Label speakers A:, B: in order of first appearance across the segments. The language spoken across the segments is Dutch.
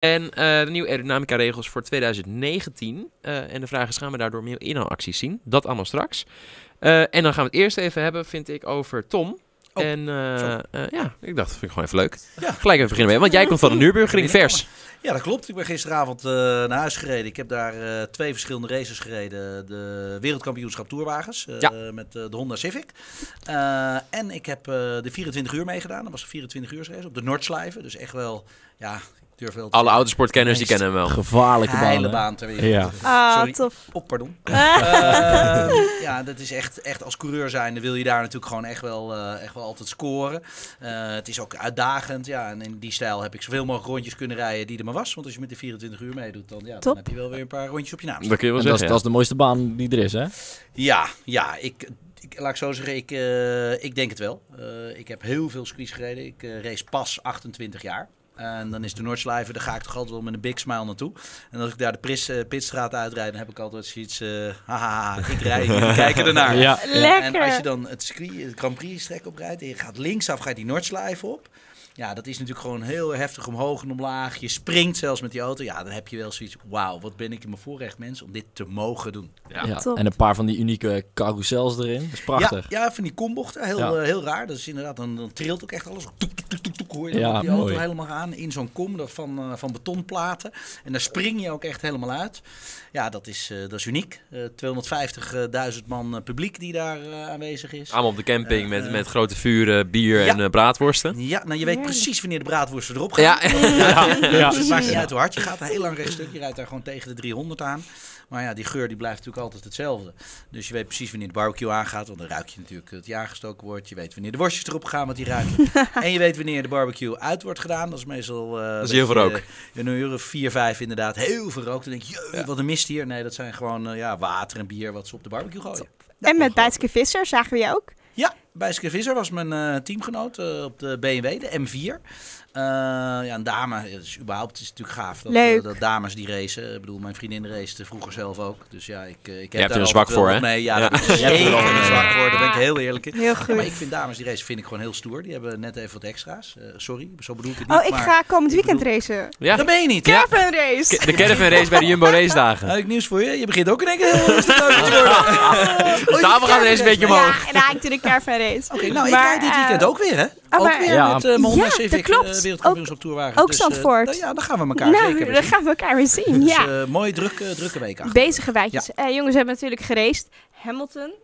A: En eh, de nieuwe aerodynamica regels voor 2019. Eh, en de vraag is, gaan we daardoor meer inhaalacties zien? Dat allemaal straks. Eh, en dan gaan we het eerst even hebben, vind ik, over Tom.
B: Oh,
A: en eh,
B: zo.
A: eh, ja, ik dacht, vind ik gewoon even leuk.
B: Ja.
A: Gelijk even beginnen mee, want jij komt van de Nürburgring vers.
B: Ja, dat klopt. Ik ben gisteravond eh, naar huis gereden. Ik heb daar eh, twee verschillende races gereden. De wereldkampioenschap toerwagens eh,
A: Ja.
B: met eh, de Honda Civic. Eh, en ik heb eh, de 24 uur meegedaan. Dat was een 24 uur race op de Noordslijven. Dus echt wel, ja, ik durf wel
A: Alle
B: te zeggen,
A: autosportkenners, die kennen hem wel.
C: Gevaarlijke
B: geile
C: baan. hè?
B: baan ter wereld.
C: Ja.
D: Ah,
B: Sorry.
D: tof.
B: Op, pardon.
D: Ah,
B: Ehm, ja, dat is echt, echt als coureur zijnde wil je daar natuurlijk gewoon echt wel, eh, echt wel altijd scoren. Eh, het is ook uitdagend. Ja, en in die stijl heb ik zoveel mogelijk rondjes kunnen rijden die er maar was. Want als je met de 24 uur meedoet, dan, ja, dan
D: Top.
B: heb je wel weer een paar rondjes op je naam.
A: Dat kun je wel
C: En dat, is,
A: zeggen,
C: dat is de mooiste baan die er is, hè?
B: Ja, ja, ik, ik, laat ik zo zeggen, ik, eh, ik denk het wel. Eh, ik heb heel veel circuits gereden. Ik eh, race pas 28 jaar. En dan is de Noordslijven, daar ga ik toch altijd wel met een big smile naartoe. En als ik daar de pris, eh, pitstraat uitrijd, dan heb ik altijd zoiets... eh haha, ik rijd, jullie kijken ernaar.
D: Lekker.
B: En als je dan het, circuit, het Grand Prix strek oprijdt en je gaat linksaf, ga je die Noordslijven op. Ja, dat is natuurlijk gewoon heel heftig omhoog en omlaag. Je springt zelfs met die auto. Ja, dan heb je wel zoiets. Wauw, wat ben ik in mijn voorrecht, mensen, om dit te mogen doen.
A: Ja.
C: Ja,
D: Top.
C: En een paar van die unieke carousels erin. Dat is prachtig.
B: Ja, ja, van die kombochten. Heel,
C: Ja.
B: eh, heel raar. Dat is inderdaad, dan, dan trilt ook echt alles. Toek, toek, toek, toek, toek, hoor je dan
C: Ja,
B: op die auto
C: mooi.
B: helemaal aan. In zo'n kom dat van, eh, van betonplaten. En daar spring je ook echt helemaal uit. Ja, dat is, eh, dat is uniek. Eh, 250.000 man eh, publiek die daar eh, aanwezig is.
A: Allemaal op de camping
B: Eh,
A: met,
B: eh.
A: met grote vuren, bier
B: Ja.
A: en eh, braadworsten.
B: Ja, nou je weet
D: Ja.
B: precies wanneer de braadworsten erop gaan.
A: Ja,
B: Dus het maakt niet uit hoe hard je gaat. Een heel lang rechtstuk. Je rijdt daar gewoon tegen de 300 aan. Maar ja, die geur die blijft natuurlijk altijd hetzelfde. Dus je weet precies wanneer de barbecue aangaat. Want dan ruik je natuurlijk dat die aangestoken wordt. Je weet wanneer de worstjes erop gaan, want die ruiken. en je weet wanneer de barbecue uit wordt gedaan. Dat is meestal... eh,
A: is heel veel
B: je,
A: rook.
B: In een uur of vier, vijf inderdaad. Heel veel rook. Dan denk je, "Jee, wat een mist hier. Nee, dat zijn gewoon eh, ja, water en bier wat ze op de barbecue gooien.
D: en met
B: ongelooflijk.
D: Bijtske Visser zagen we je ook.
B: Ja, Bijske Visser was mijn eh, teamgenoot eh, op de BMW, de M4. Eh, ja, een dame, het is überhaupt het is natuurlijk gaaf dat,
D: Leuk.
B: eh, dat dames die racen. Ik bedoel, mijn vriendin race vroeger zelf ook. Dus ja, ik, eh,
A: hebt
B: ik heb
A: er
B: daar
A: een
B: altijd
A: zwak
B: wel
A: voor,
B: wat
A: hè?
B: mee. Ja,
A: Ja.
B: daar heb ik zeker
D: Ja.
B: een zwak voor, daar ben ik heel eerlijk in.
D: Heel
B: Ja, maar
D: goed.
B: ik vind dames die racen vind ik gewoon heel stoer. Die hebben net even wat extra's. Eh, sorry, zo bedoel ik het niet.
D: Oh, ik
B: maar
D: ga komend
B: ik
D: weekend
B: bedoel-
D: racen.
A: Ja.
B: Dat ben je niet.
A: Ja.
D: Caravan race.
A: K- De caravan race bij de Jumbo Race dagen.
B: Heb ik nieuws voor je? Je begint ook in één keer heel rustig te worden.
A: De tafel gaat ineens een beetje omhoog.
D: Ja, en dan haak ik doe de caravan race.
B: Oké, nou, ik
D: Maar,
B: rijd dit weekend
D: eh,
B: ook weer, hè?
D: oh,
B: ook
D: maar-
B: weer
C: Ja.
B: met eh mijn Honda
D: Ja,
B: Civic,
D: dat klopt.
B: eh, wereldkampioenschap toerwagen.
D: ook
B: Dus, eh,
D: Zandvoort.
B: nou ja, dan gaan we elkaar zeker
D: Nou,
B: weer
D: dan
B: zien.
D: gaan we elkaar weer zien.
B: Dus,
D: Ja.
B: eh, mooie drukke, drukke week achter.
D: Bezige wijtjes. Eh, jongens we hebben natuurlijk geraced. Hamilton,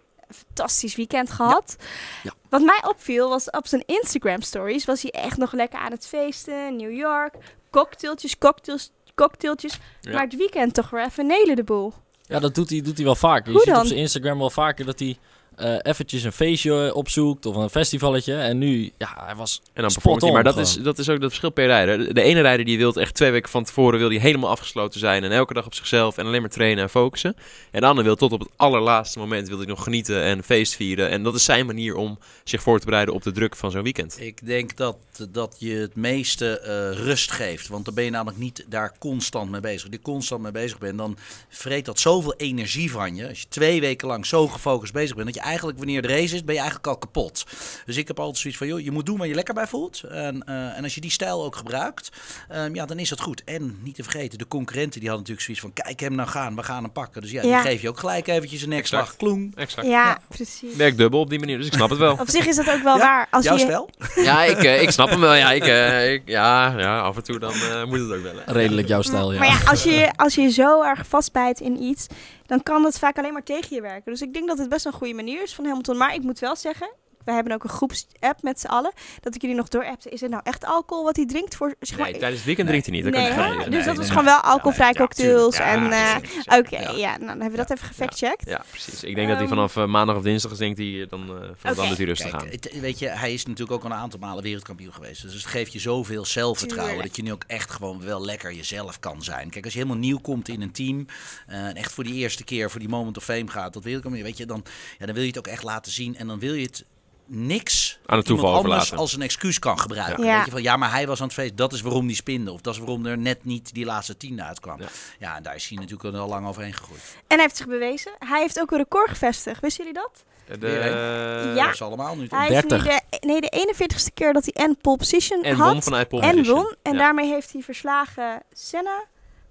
D: fantastisch weekend gehad.
C: Ja.
D: Wat mij opviel was op zijn Instagram stories was hij echt nog lekker aan het feesten. New York, cocktailtjes, cocktails, cocktailtjes.
A: Ja.
D: Maar het weekend toch weer even nelen de boel.
C: Ja, dat doet hij, doet hij wel vaker. Je
D: Hoe
C: ziet
D: dan?
C: op zijn Instagram wel vaker dat hij eh, eventjes een feestje opzoekt of een festivaletje. En nu, ja, hij was...
A: En dan
C: Spot
A: performt hij.
C: on
A: Maar dat is,
C: gewoon.
A: dat is ook dat verschil per rijder. De ene rijder die wil echt twee weken van tevoren wil die helemaal afgesloten zijn. En elke dag op zichzelf en alleen maar trainen en focussen. En de ander wil tot op het allerlaatste moment wil hij nog genieten en feest vieren. En dat is zijn manier om zich voor te bereiden op de druk van zo'n weekend.
B: Ik denk dat, dat je het meeste eh, rust geeft. Want dan ben je namelijk niet daar constant mee bezig. Als je constant mee bezig bent, dan vreet dat zoveel energie van je. Als je twee weken lang zo gefocust bezig bent, dat je eigenlijk wanneer de race is, ben je eigenlijk al kapot. Dus ik heb altijd zoiets van, joh, je moet doen waar je lekker bij voelt. En, eh, en als je die stijl ook gebruikt, ehm, ja, dan is dat goed. En niet te vergeten, de concurrenten die hadden natuurlijk zoiets van, kijk hem nou gaan, we gaan hem pakken. Dus ja,
D: Ja.
B: die geef je ook gelijk eventjes een nekslag.
A: Exact.
B: Kloem.
D: Ja,
A: Exact.
D: precies.
A: Werkt dubbel op die manier, dus ik snap het wel.
D: Op zich is dat ook wel
B: Ja,
D: waar. Als
B: Jouw
D: je,
B: spel?
A: ja, ik, eh, ik snap hem wel. Ja, ik, eh, ik- ja, ja, af en toe dan eh, moet het ook wel. hè.
C: Redelijk jouw stijl, ja.
D: Maar ja, als je, als je zo erg vastbijt in iets, dan kan dat vaak alleen maar tegen je werken. Dus ik denk dat het best een goede manier is van Hamilton. Maar ik moet wel zeggen, we hebben ook een groepsapp met z'n allen, dat ik jullie nog doorappte. Is het nou echt alcohol wat hij drinkt? Voor, zeg maar,
A: Nee, tijdens het weekend drinkt hij niet. Dat
D: Nee,
A: kan
D: hè?
A: ik niet
D: dus
A: zeggen.
B: nee,
D: dat
B: nee,
D: was
B: nee.
D: gewoon wel alcoholvrij
A: Ja,
D: cocktails.
A: tuurlijk.
D: en
A: Ja,
D: eh,
A: zeker, zeker.
D: oké, ja. nou, dan hebben we dat even gefactcheckt.
A: Ja, precies. Ik denk dat hij
D: Ehm,
A: vanaf eh, maandag of dinsdag is, denkt hij, eh, dan, eh vanaf dan
D: Oké.
A: doet hij rustig aan.
B: Kijk, het- weet je, hij is natuurlijk ook al een aantal malen wereldkampioen geweest. Dus het geeft je zoveel zelfvertrouwen
D: Tuurlijk.
B: dat je nu ook echt gewoon wel lekker jezelf kan zijn. Kijk, als je helemaal nieuw komt in een team eh, en echt voor die eerste keer, voor die moment of fame gaat, dat wereldkampioen, weet je, dan, ja, dan wil je het ook echt laten zien en dan wil je het niks
A: Aan het toeval
B: iemand anders
A: overlaten.
B: als een excuus kan gebruiken.
D: Ja.
B: Weet je, van, ja, maar hij was aan het feest, dat is waarom die spinde. Of dat is waarom er net niet die laatste tien uitkwam.
A: Ja.
B: Ja, en daar is hij natuurlijk al lang overheen gegroeid.
D: En hij heeft zich bewezen. Hij heeft ook een record gevestigd. Wisten jullie dat?
A: De,
B: Weer
D: Ja.
B: Dat is allemaal nu.
D: Hij
B: toch?
D: is nu
C: 30.
D: de, nee, de 41ste keer dat hij en pole position
A: En
D: had.
A: won vanuit pole
D: en
A: position.
D: won. En
A: Ja.
D: daarmee heeft hij verslagen Senna,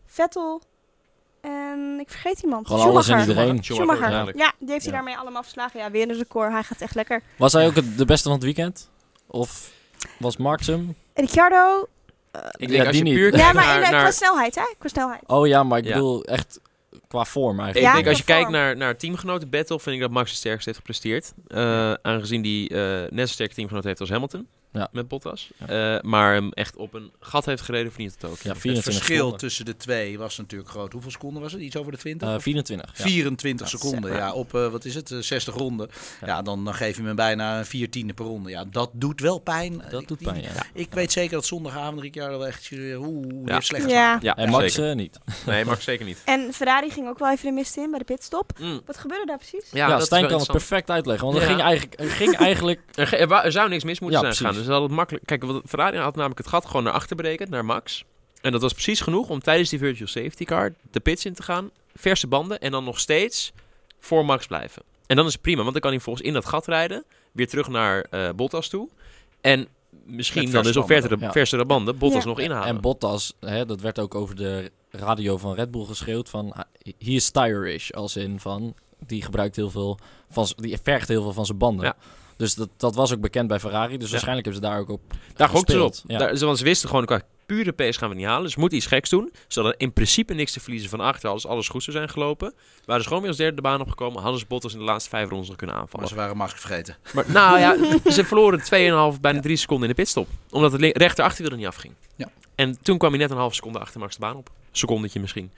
D: Vettel en ik vergeet iemand.
C: Gewoon alles en
D: Schumacher.
C: iedereen.
D: Schumacher.
A: uiteindelijk.
D: Ja, die heeft hij
C: Ja.
D: daarmee allemaal verslagen. Ja, weer een record. Hij gaat echt lekker.
C: Was hij ook het- de beste van het weekend? Of was Marx hem?
D: Ricciardo. eh,
A: Ik
C: Ja,
A: denk als je
C: die niet.
A: puur
D: Ja,
A: kijkt
D: maar in,
A: naar...
D: eh, qua
A: naar
D: snelheid, hè? Qua snelheid.
C: Oh ja, maar ik
A: Ja.
C: bedoel echt qua vorm
A: ik
C: eigenlijk.
D: Ja,
A: denk als je
D: qua
A: kijkt
D: vorm.
A: naar, naar teamgenoten battle, vind ik dat Max het sterkst heeft gepresteerd. Eh, aangezien die eh, net zo sterke teamgenoot heeft als Hamilton.
C: Ja.
A: Met Bottas. Eh, maar hem echt op een gat heeft gereden, verdient het ook.
C: Ja,
B: Het
C: 24
B: verschil
C: seconden.
B: tussen de twee was natuurlijk groot. Hoeveel seconden was het? Iets over de 20?
C: Eh,
B: Of
C: 24. ja.
B: 24
D: Ja,
B: seconden,
D: zeg
B: ja, op eh, wat is het, eh, 60 ronden.
C: Ja.
B: Ja, dan, dan geef je me bijna een viertiende per ronde. Ja, dat doet wel pijn.
C: Dat
B: Ik-
C: doet pijn, ja.
B: Ik weet zeker dat zondagavond Ricciardo wel echt, eh, oeh, die
A: Ja.
B: heeft slecht geslapen.
D: Ja.
A: Ja,
C: En Max
A: zeker.
C: eh, niet.
A: Nee, Max zeker niet.
D: En Ferrari ging ook wel even de mist in bij de pitstop.
A: Mm.
D: Wat gebeurde daar precies?
C: Ja,
A: dat is
C: Stijn
A: wel
C: kan het
A: interessant.
C: perfect uitleggen. Want er
A: Ja.
C: ging eigenlijk, er ging eigenlijk
A: Er, ge- er wa- er zou niks mis moeten
C: Ja,
A: zijn gegaan.
C: precies.
A: Dus dat had het makkelijk. Kijk, wat Ferrari had namelijk het gat gewoon naar achter berekend, naar Max. En dat was precies genoeg om tijdens die virtual safety car de pits in te gaan, verse banden en dan nog steeds voor Max blijven. En dan is het prima, want dan kan hij volgens in dat gat rijden, weer terug naar eh, Bottas toe. En misschien
B: Met
A: dan dus
B: verse
A: op verdere,
C: banden dan, ja.
A: versere banden Bottas
D: Ja.
A: nog inhalen.
C: En Bottas, hè, dat werd ook over de radio van Red Bull geschreeuwd van... ah, He is tire-ish, als in van... Die gebruikt heel veel van... z- Die vergt heel veel van zijn banden.
A: Ja.
C: Dus dat, dat was ook bekend bij Ferrari. Dus
A: Ja.
C: waarschijnlijk hebben ze daar ook op
A: Daar gokten ze op.
C: gespeeld. Ja.
A: Daar, ze- want ze wisten gewoon, qua pure pace gaan we niet halen. Dus we moeten iets geks doen. Ze hadden in principe niks te verliezen van achter. Als alles goed zou zijn gelopen. Waren ze gewoon weer als derde de baan opgekomen. Hadden ze Bottas in de laatste vijf rondes nog kunnen
B: Maar
A: aanvallen.
B: ze waren Max vergeten.
A: Maar, nou ja, ze verloren 2,5, bijna 3 seconden in de pitstop. Omdat het le- rechter achterwiel er niet afging.
B: Ja.
A: En toen kwam hij net een halve seconde achter Max de baan op. Secondetje misschien.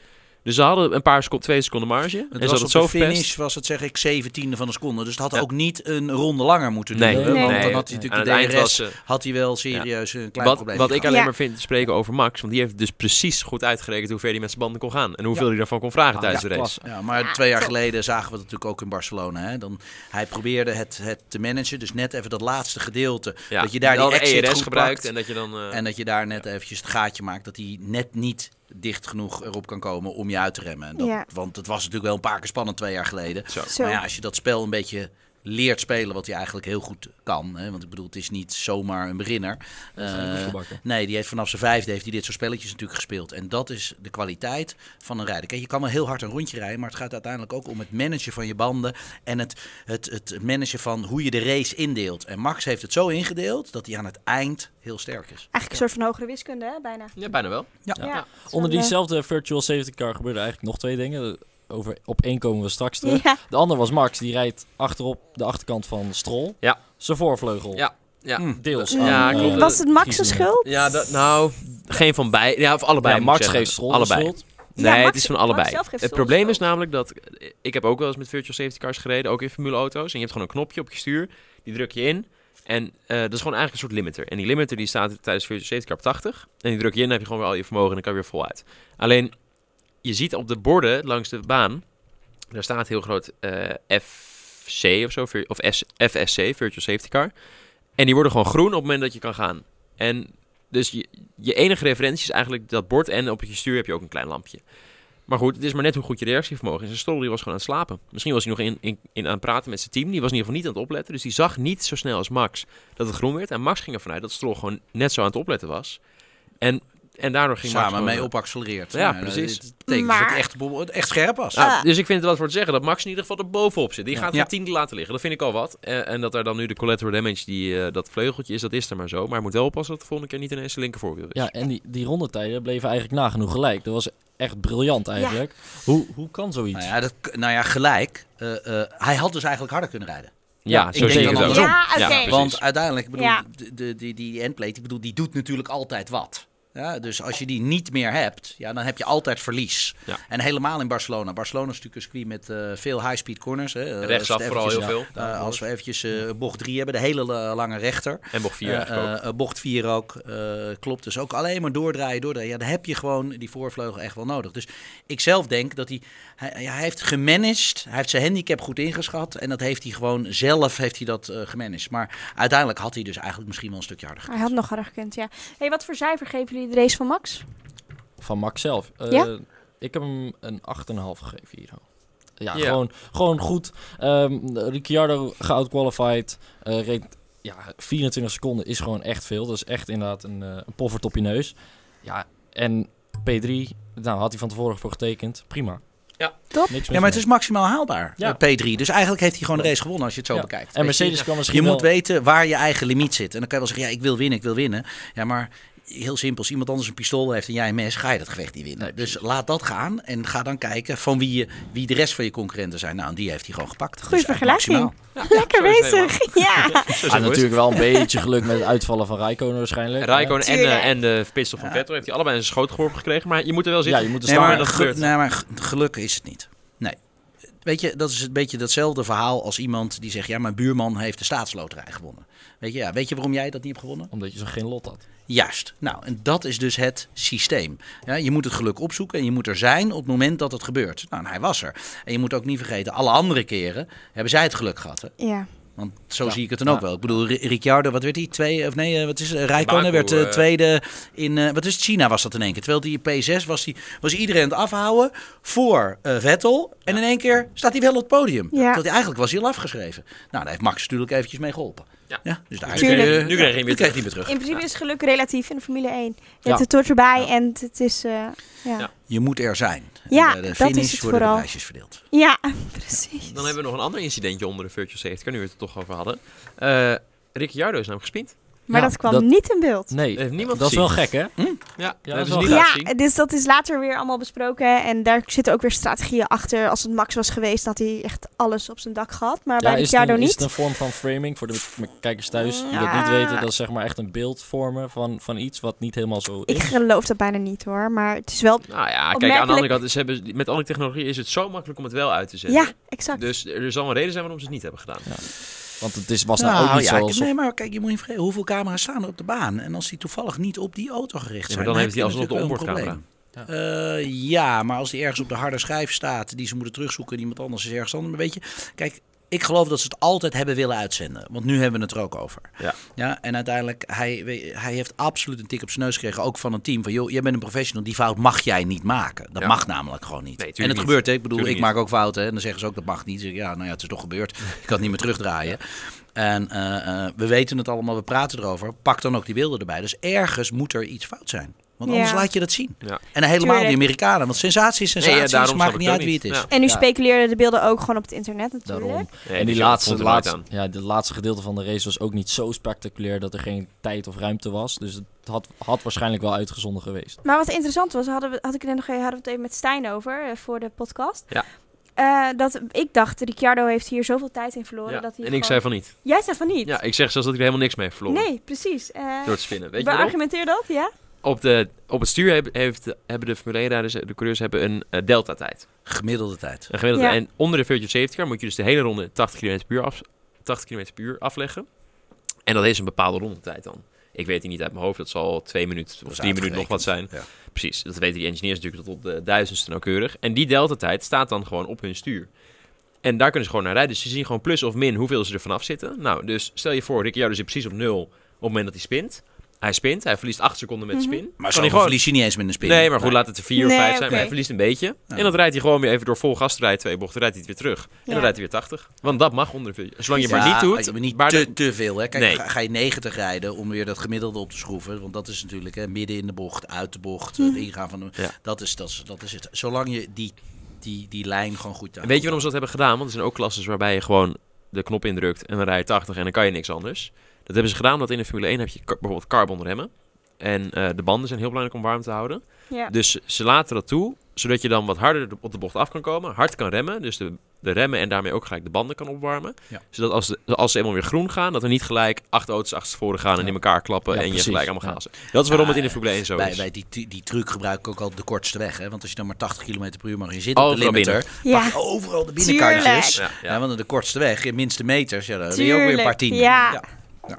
A: Dus ze hadden een paar seconden, twee seconden marge. en
B: Het
A: ze
B: was
A: hadden
B: op
A: het zo
B: de finish
A: verpest.
B: was het zeg ik zeventiende van een seconde. Dus het had
A: Ja.
B: ook niet een ronde langer moeten
A: Nee,
B: duren.
C: Nee.
B: Want
A: nee.
B: dan had hij
A: Aan
B: natuurlijk
A: het
B: de
A: eind
B: DRS,
A: was eh, ze...
B: had hij wel serieus een klein
A: Wat,
B: probleem
A: wat ik
B: gehad.
A: alleen
D: Ja.
A: maar vind te spreken over Max, want die heeft dus precies goed uitgerekend hoe ver hij met zijn banden kon gaan. En hoeveel
B: Ja.
A: hij daarvan kon vragen
B: Ah,
A: tijdens
C: Ja,
A: de race.
C: klasse.
B: Ja, maar twee jaar geleden zagen we dat natuurlijk ook in Barcelona. Hè? Dan, hij probeerde het, het te managen, dus net even dat laatste gedeelte.
A: Ja,
B: Dat je daar
A: wel
B: die
A: de
B: exit
A: ERS
B: goed
A: gebruikt
B: pakt.
A: en dat je dan... eh,
B: En dat je daar net eventjes het gaatje maakt dat hij net niet dicht genoeg erop kan komen om je uit te remmen. En Dat,
D: Ja.
B: Want het was natuurlijk wel een paar keer spannend twee jaar geleden.
A: zo.
D: Zo.
B: Maar ja, als je dat spel een beetje leert spelen, wat hij eigenlijk heel goed kan. Hè? Want ik bedoel, het is niet zomaar een beginner. Eh,
C: Oefenbakken.
B: nee, die heeft vanaf zijn vijfde heeft hij dit soort spelletjes natuurlijk gespeeld. En dat is de kwaliteit van een rijder. Kijk, je kan wel heel hard een rondje rijden, maar het gaat uiteindelijk ook om het managen van je banden. En het, het, het managen van hoe je de race indeelt. En Max heeft het zo ingedeeld dat hij aan het eind heel sterk is.
D: Eigenlijk een soort van hogere wiskunde, hè? Bijna.
A: Ja, bijna wel.
D: Ja.
A: Ja.
D: het is
C: Onder
D: wel, eh,
C: diezelfde virtual safety car gebeurde eigenlijk nog twee dingen. Over, op één komen we straks terug.
D: eh, Ja.
C: De ander was Max. Die rijdt achterop de achterkant van Stroll.
A: Ja.
C: Zijn voorvleugel.
A: Ja. Ja,
B: Hm.
C: Deels.
A: Ja,
C: aan,
A: klopt.
C: eh,
D: Was het Max'
C: Giesing.
D: schuld?
A: ja dat, nou, geen van beide. Ja, of allebei.
C: Ja,
A: moet ik
C: Max
A: zeggen.
C: geeft Stroll de
A: allebei.
C: schuld.
D: Ja,
A: Nee,
D: Max-
A: het is van allebei.
D: Max zelf geeft
A: het
D: soms
A: probleem
D: wel.
A: is namelijk dat eh, ik heb ook wel eens met virtual safety cars gereden, ook in formuleauto's. En je hebt gewoon een knopje op je stuur, die druk je in. En eh, dat is gewoon eigenlijk een soort limiter. En die limiter die staat tijdens virtual safety car op 80. En die druk je in, dan heb je gewoon weer al je vermogen en dan kan je weer voluit. Alleen, je ziet op de borden langs de baan, daar staat heel groot eh, FC of zo, vir- of S- FSC, virtual safety car. En die worden gewoon groen op het moment dat je kan gaan. En dus je, je enige referentie is eigenlijk dat bord en op je stuur heb je ook een klein lampje. Maar goed, het is maar net hoe goed je reactievermogen is. En Stroll die was gewoon aan het slapen. Misschien was hij nog in, in, in aan het praten met zijn team. Die was in ieder geval niet aan het opletten. Dus die zag niet zo snel als Max dat het groen werd. En Max ging ervan uit dat Stroll gewoon net zo aan het opletten was. En, en daardoor ging Max
B: Samen
A: gewoon-
B: mee opgeaccelereerd.
A: Ja,
B: Nou,
A: precies.
B: Het betekent dat
D: Maar-
B: het echt, bo- het echt scherp was.
A: Nou,
D: Ah.
A: Dus ik vind het wat voor te zeggen dat Max in ieder geval er bovenop zit. Die gaat
B: Ja.
A: geen tiende laten liggen. Dat vind ik al wat. Eh, en dat er dan nu de collateral damage, die, eh, dat vleugeltje is, dat is er maar zo. Maar hij moet wel oppassen dat de volgende keer niet ineens zijn linkervoorwiel is.
C: Ja, en die, die rondetijden bleven eigenlijk nagenoeg gelijk. Dat was echt briljant eigenlijk. Hoe, hoe kan zoiets?
B: Nou ja, dat, nou ja gelijk. Eh, eh, hij had dus eigenlijk harder kunnen rijden.
A: Ja,
C: ik
A: zo
B: denk
A: zie ik
B: dan
A: het ook.
B: andersom.
D: Ja, oké.
A: precies.
B: Want uiteindelijk, ik bedoel,
D: Ja.
B: de, de, die, die endplate, ik bedoel, die doet natuurlijk altijd wat. Ja, dus als je die niet meer hebt, ja, dan heb je altijd verlies.
A: Ja.
B: En helemaal in Barcelona. Barcelona is natuurlijk een circuit met eh, veel high-speed corners. Hè. Eh, als
A: Rechtsaf
B: het
A: vooral heel
B: eventjes-
A: veel.
B: eh, als we eventjes eh, bocht 3 hebben, de hele eh, lange rechter.
A: En bocht 4
B: Eh,
A: eigenlijk ook.
B: eh, bocht 4 ook, eh, klopt. Dus ook alleen maar doordraaien, doordraaien. Ja, dan heb je gewoon die voorvleugel echt wel nodig. Dus ik zelf denk dat hij, hij, ja, hij heeft gemanaged, hij heeft zijn handicap goed ingeschat. En dat heeft hij gewoon zelf heeft hij dat eh, gemanaged. Maar uiteindelijk had hij dus eigenlijk misschien wel een stukje harder.
D: Hij had nog harder gekund, ja. hey, wat voor cijfer geven jullie de race van Max?
C: Van Max zelf. Eh,
D: Ja?
C: Ik heb hem een 8,5 gegeven hier. ja,
A: Ja.
C: Gewoon, gewoon goed. Ehm, Ricciardo geoutqualified. eh reed, ja, 24 seconden is gewoon echt veel. Dat is echt inderdaad een, eh een poffert op je neus. Ja, en P3, nou had hij van tevoren voor getekend. Prima.
A: Ja.
D: Top.
C: Niks
B: Ja, maar het is maximaal haalbaar,
C: Ja.
B: eh, P3. Dus eigenlijk heeft hij gewoon de race gewonnen als je het zo
C: Ja.
B: bekijkt.
C: En
B: Weet je?
C: Mercedes kan misschien
B: Je moet
C: wel...
B: weten waar je eigen limiet zit. En dan kan je wel zeggen, ja, ik wil winnen, ik wil winnen. Ja, maar heel simpel. Als iemand anders een pistool heeft en jij een mes, ga je dat gevecht niet winnen. dus laat dat gaan en ga dan kijken van wie, je, wie de rest van je concurrenten zijn. Nou, en die heeft hij gewoon gepakt.
D: Goeie
B: Dus echt
D: vergelijking.
B: maximaal.
D: Lekker
A: zo is het
D: bezig. Ja.
A: Zo
C: Ah,
A: zijn we
C: natuurlijk wel een beetje geluk met het uitvallen van Rijkonen
A: het.
C: waarschijnlijk.
A: Raikkonen en,
D: Tuurlijk.
A: eh, en de pitstop van Vettel heeft hij allebei in zijn schoot geworpen gekregen. Maar je moet er wel
C: Ja,
A: zitten.
C: je moet er
B: Nee,
C: staan.
B: maar,
A: dat
B: ge-
A: gebeurt.
B: nee, maar ge- gelukkig is het niet. Nee. Weet je, dat is een beetje datzelfde verhaal als iemand die zegt... ja, mijn buurman heeft de staatsloterij gewonnen. Weet je, ja, weet je waarom jij dat niet hebt gewonnen?
C: Omdat je zo geen lot had.
B: Juist. Nou, en dat is dus het systeem. Ja, je moet het geluk opzoeken en je moet er zijn op het moment dat het gebeurt. Nou, en hij was er. En je moet ook niet vergeten, alle andere keren hebben zij het geluk gehad. Hè?
D: ja.
B: Want zo
C: Ja,
B: zie ik het dan
C: ja.
B: ook wel. Ik bedoel, Ri- Ricciardo, wat werd hij? Twee, of nee, eh, wat is het? Rijkonen
A: Baku,
B: werd eh,
A: eh,
B: tweede in, eh, wat is het? China was dat in één keer. Terwijl die P6 was, die, was iedereen aan het afhouden voor eh, Vettel. En in één keer staat hij wel op het podium.
D: Ja.
B: Terwijl hij, eigenlijk was hij al afgeschreven. Nou, daar heeft Max natuurlijk eventjes mee geholpen.
A: Ja.
B: dus daar
A: Nu
B: is-
D: Tuurlijk.
A: kreeg- nu kreeg hij hem weer
B: Nu kreeg hij weer terug.
D: In principe is geluk relatief in de Formule 1. Je
C: Ja.
D: hebt het tot erbij en het- het is... eh, ja.
A: Ja.
D: Ja.
B: Je moet er zijn. En
D: Ja,
B: de, de
D: dat
B: finish
D: is het
B: worden de
D: vooral.
B: prijsjes verdeeld.
D: precies.
A: Dan hebben we nog een ander incidentje onder de virtual safety car, nu we het er toch over hadden. Eh Ricciardo is namelijk gespind.
D: Maar
C: Ja,
D: dat kwam
C: dat-
D: niet in beeld.
C: Nee,
A: Heeft niemand
C: dat is wel
A: gezien.
C: gek, hè?
A: Ja,
C: dat
A: dat
C: is
A: is
C: wel
A: niet laten
D: Ja,
A: zien.
D: dus dat is later weer allemaal besproken. En daar zitten ook weer strategieën achter. Als het Max was geweest, had hij echt alles op zijn dak gehad. Maar bij
C: is, het
D: Ricciardo
C: een, is
D: niet.
C: het een vorm van framing voor de m- kijkers thuis die dat
D: Ja.
C: niet weten? Dat is zeg maar echt een beeld vormen van, van iets wat niet helemaal zo is.
D: Ik geloof dat bijna niet hoor. Maar het is wel...
A: Nou ja, kijk, aan de
D: Opmerkelijk.
A: andere kant, ze hebben, met alle technologie is het zo makkelijk om het wel uit te zetten.
D: Ja, exact.
A: Dus er zal een reden zijn waarom ze het niet hebben gedaan.
C: Want het is, was nou, ook niet
B: ja,
C: zo...
B: ik-
C: alsof-
B: nee, maar kijk, je moet je vergeten hoeveel camera's staan er op de baan. En als die toevallig niet op die auto gericht
A: Ja,
B: zijn,
A: maar dan heeft
B: heb
A: hij
B: je
A: alsnog de
B: natuurlijk wel een
A: onboardcamera.
B: probleem. Eh, ja, maar als die ergens op de harde schijf staat, die ze moeten terugzoeken, en iemand anders is ergens anders. Maar weet je, kijk, ik geloof dat ze het altijd hebben willen uitzenden. Want nu hebben we het er ook over.
A: Ja.
B: ja en uiteindelijk, hij, we- hij heeft absoluut een tik op zijn neus gekregen, ook van een team. Van joh, jij bent een professional, die fout mag jij niet maken. Dat
A: Ja.
B: mag namelijk gewoon niet.
A: Nee, tuurlijk
B: en het
A: niet.
B: gebeurt, hè? ik bedoel,
A: Tuurlijk
B: ik maak ook fouten. hè. En dan zeggen ze ook, dat mag niet. Dan zeg ik, ja, nou ja, het is toch gebeurd. Ik kan het niet meer terugdraaien. En eh, eh, we weten het allemaal, we praten erover. Pak dan ook die beelden erbij. Dus ergens moet er iets fout zijn. Want anders
D: Ja.
B: laat je dat zien.
A: Ja.
B: En helemaal
D: Tuurlijk.
B: die Amerikanen. Want sensatie is sensatie.
A: Nee, ja,
B: dus
A: daarom snap
B: maakt
A: ik
B: niet
A: het
B: uit
A: ook
B: wie het is.
A: niet.
D: En nu
C: Ja.
D: speculeerden de beelden ook gewoon op het internet natuurlijk.
C: Daarom.
A: Nee,
C: en die
A: dus
C: laatste,
A: vond het eruit
C: laatste,
A: aan.
C: ja, de laatste gedeelte van de race was ook niet zo spectaculair dat er geen tijd of ruimte was. Dus het had, had waarschijnlijk wel uitgezonden geweest.
D: Maar wat interessant was, hadden we, had ik het nog hadden we het even met Stijn over eh, voor de podcast.
A: Ja.
D: Eh, dat ik dacht, Ricciardo heeft hier zoveel tijd in verloren.
A: Ja,
D: Dat hij
A: En ik zei
D: gewoon-
A: van niet.
D: Jij zei van niet.
A: Ja, ik zeg zelfs dat ik er helemaal niks mee heb verloren.
D: nee, precies. Eh
A: Door het spinnen. Weet je waarom?
D: Beargumenteer dat, ja?
A: Op, de, op het stuur heb- heeft, hebben de Formule 1-rijders, de coureurs, hebben een eh, delta-tijd.
B: Gemiddelde tijd.
A: Een gemiddelde.
D: Ja.
A: En onder de virtual safety car moet je dus de hele ronde 80 km per uur, af, 80 km per uur afleggen. En dat is een bepaalde rondetijd dan. Ik weet die niet uit mijn hoofd. Dat zal twee minuten of
B: is
A: drie minuten nog wat zijn.
B: uitgerekend, ja.
A: Precies. Dat weten die engineers natuurlijk tot op de duizendste nauwkeurig. En die delta-tijd staat dan gewoon op hun stuur. En daar kunnen ze gewoon naar rijden. Dus ze zien gewoon plus of min hoeveel ze er vanaf zitten. Nou, dus stel je voor, Ricciardo zit precies op nul op het moment dat hij spint. Hij spint, hij verliest acht seconden met de
D: Mhm.
A: spin.
B: Maar
A: Kan
B: zo
A: hij gewoon
B: verlies je niet eens met een spin.
A: Nee, maar goed, laat het er vier of
D: Nee,
A: vijf zijn. Maar
D: oké.
A: hij verliest een beetje. En dan rijdt hij gewoon weer even door vol gas te rijden, twee bochten. rijdt hij het weer terug. En
D: Ja.
A: dan rijdt hij weer 80. Want dat mag onder de Zolang je
B: Ja,
A: maar niet doet.
B: ah, je moet niet
A: maar
B: te,
A: dan-
B: te veel. Hè. Kijk,
A: Nee.
B: ga, ga je 90 rijden om weer dat gemiddelde op te schroeven. Want dat is natuurlijk hè, midden in de bocht, uit de bocht, het ingaan van de...
A: Hm. Ja.
B: Dat, is, dat, is, dat is het. Zolang je die, die, die lijn gewoon goed
A: En weet je waarom ze dat hebben gedaan? Want er zijn ook klasses waarbij je gewoon de knop indrukt en dan rij je 80 en dan kan je niks anders. Dat hebben ze gedaan omdat in de Formule 1 heb je ka- bijvoorbeeld carbon remmen. En eh, de banden zijn heel belangrijk om warm te houden.
D: Ja.
A: Dus ze laten dat toe, zodat je dan wat harder op de bocht af kan komen. Hard kan remmen, dus de, de remmen en daarmee ook gelijk de banden kan opwarmen.
B: Ja.
A: Zodat als, de- als ze eenmaal weer groen gaan, dat er niet gelijk acht auto's achter voren gaan en
C: Ja.
A: in elkaar klappen
C: Ja,
A: en je
C: precies.
A: gelijk allemaal
C: Ja.
A: gazen. Dat is waarom
B: Ah,
A: het in de Formule 1 zo
B: Wij,
A: is.
B: wij die, die, die truc gebruiken ook al de kortste weg. Hè? Want als je dan maar 80 km per uur mag in zitten op de
A: Overal
B: limiter,
D: Ja.
B: pak je overal de binnenkantjes.
D: Tuurlijk.
A: ja, ja.
B: Ja, want de kortste weg, de minste meters, ja, dan ben je ook weer een paar
D: Tuurlijk,
B: tien.
D: ja.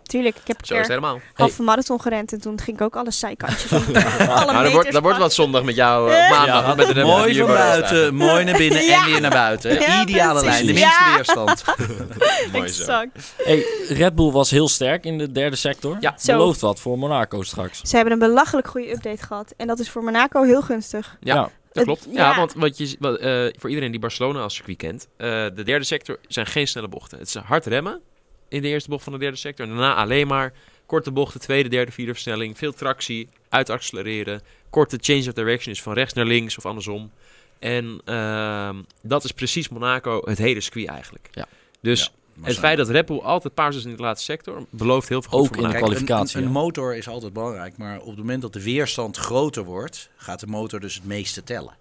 D: Tuurlijk, ik heb een
A: Zo is het
D: keer
A: helemaal.
D: halve marathon gerend en toen ging ik ook alle zijkantjes om. alle
A: Nou, dat, wordt, dat wordt wat zondag met jou eh, op maandag.
C: Ja,
A: met de remmen
B: Mooi
A: die je
B: van
A: boven staat.
B: buiten, mooi naar binnen
D: Ja.
B: en weer naar buiten. hè.
D: Ja,
B: Ideale
D: precies.
B: lijn, de minste
D: Ja.
B: weerstand.
A: Mooi zo.
D: Exact.
C: Hey, Red Bull was heel sterk in de derde sector.
A: Ja.
D: Zo.
C: Belooft wat voor Monaco straks.
D: Ze hebben een belachelijk goede update gehad. En dat is voor Monaco heel gunstig.
A: Ja. dat
D: Het-
A: klopt. Ja,
D: ja.
A: want wat je, z- wat, eh, voor iedereen die Barcelona als circuit kent, eh, de derde sector zijn geen snelle bochten. Het is hard remmen in de eerste bocht van de derde sector. En daarna alleen maar korte bochten, tweede, derde, vierde versnelling, veel tractie, uitaccelereren, korte change of direction is van rechts naar links of andersom. En ehm, dat is precies Monaco, het hele circuit eigenlijk.
C: Ja.
A: Dus
B: Ja,
A: het feit dat Red Bull altijd paars is in de laatste sector, belooft heel veel goed
C: Ook
A: voor
C: in de
A: Monaco.
B: Kijk, een-
C: kwalificatie,
B: Een,
C: ja.
B: een motor is altijd belangrijk, maar op het moment dat de weerstand groter wordt, gaat de motor dus het meeste tellen.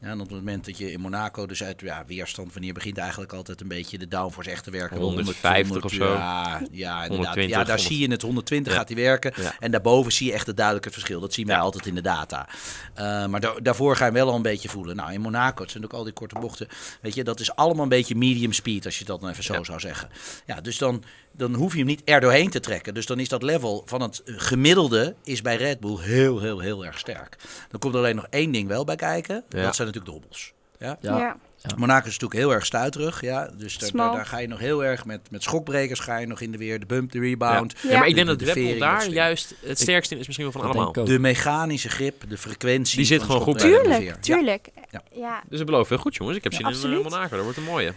B: Ja, en op het moment dat je in Monaco dus uit ja, weerstand, wanneer begint eigenlijk altijd een beetje de downforce echt te werken?
A: 150
B: 100,
A: of zo.
B: Ja, ja, inderdaad.
A: 120,
B: ja daar
A: 100.
B: zie je het, 120
A: Ja.
B: gaat hij werken.
A: Ja.
B: En daarboven zie je echt het duidelijke verschil. Dat zien wij altijd in de data. Eh, maar da- daarvoor ga je wel al een beetje voelen. Nou, in Monaco, het zijn ook al die korte bochten. Weet je, dat is allemaal een beetje medium speed, als je dat nou even zo
A: Ja.
B: zou zeggen. Ja, dus dan, dan hoef je hem niet er doorheen te trekken. Dus dan is dat level van het gemiddelde is bij Red Bull heel, heel, heel erg sterk. Dan komt er alleen nog één ding wel bij kijken.
A: Ja.
B: Dat zijn natuurlijk dobbels. Ja?
C: Ja.
D: Ja.
B: Monaco is natuurlijk heel erg stuiterig. Ja? Dus daar, daar,
D: Smal.
B: daar ga je nog heel erg met, met schokbrekers ga je nog in de weer. De bump, de rebound.
A: Ja, maar ik
B: De-
A: denk dat
B: de
A: Red Bull
B: vering, dat
A: daar
B: soort
A: juist het sterkste in is misschien wel van
C: Dat denk
A: allemaal.
C: ik ook.
B: De mechanische grip, de frequentie.
A: Die zit
B: van
A: gewoon goed
B: schokbrekers in de
D: Tuurlijk,
B: veer. Ja.
D: tuurlijk.
B: Ja.
D: Ja.
A: Dus het belooft heel goed, jongens. Ik heb
D: Ja,
A: zin in eh,
D: absoluut.
A: Monaco. Dat wordt een mooie.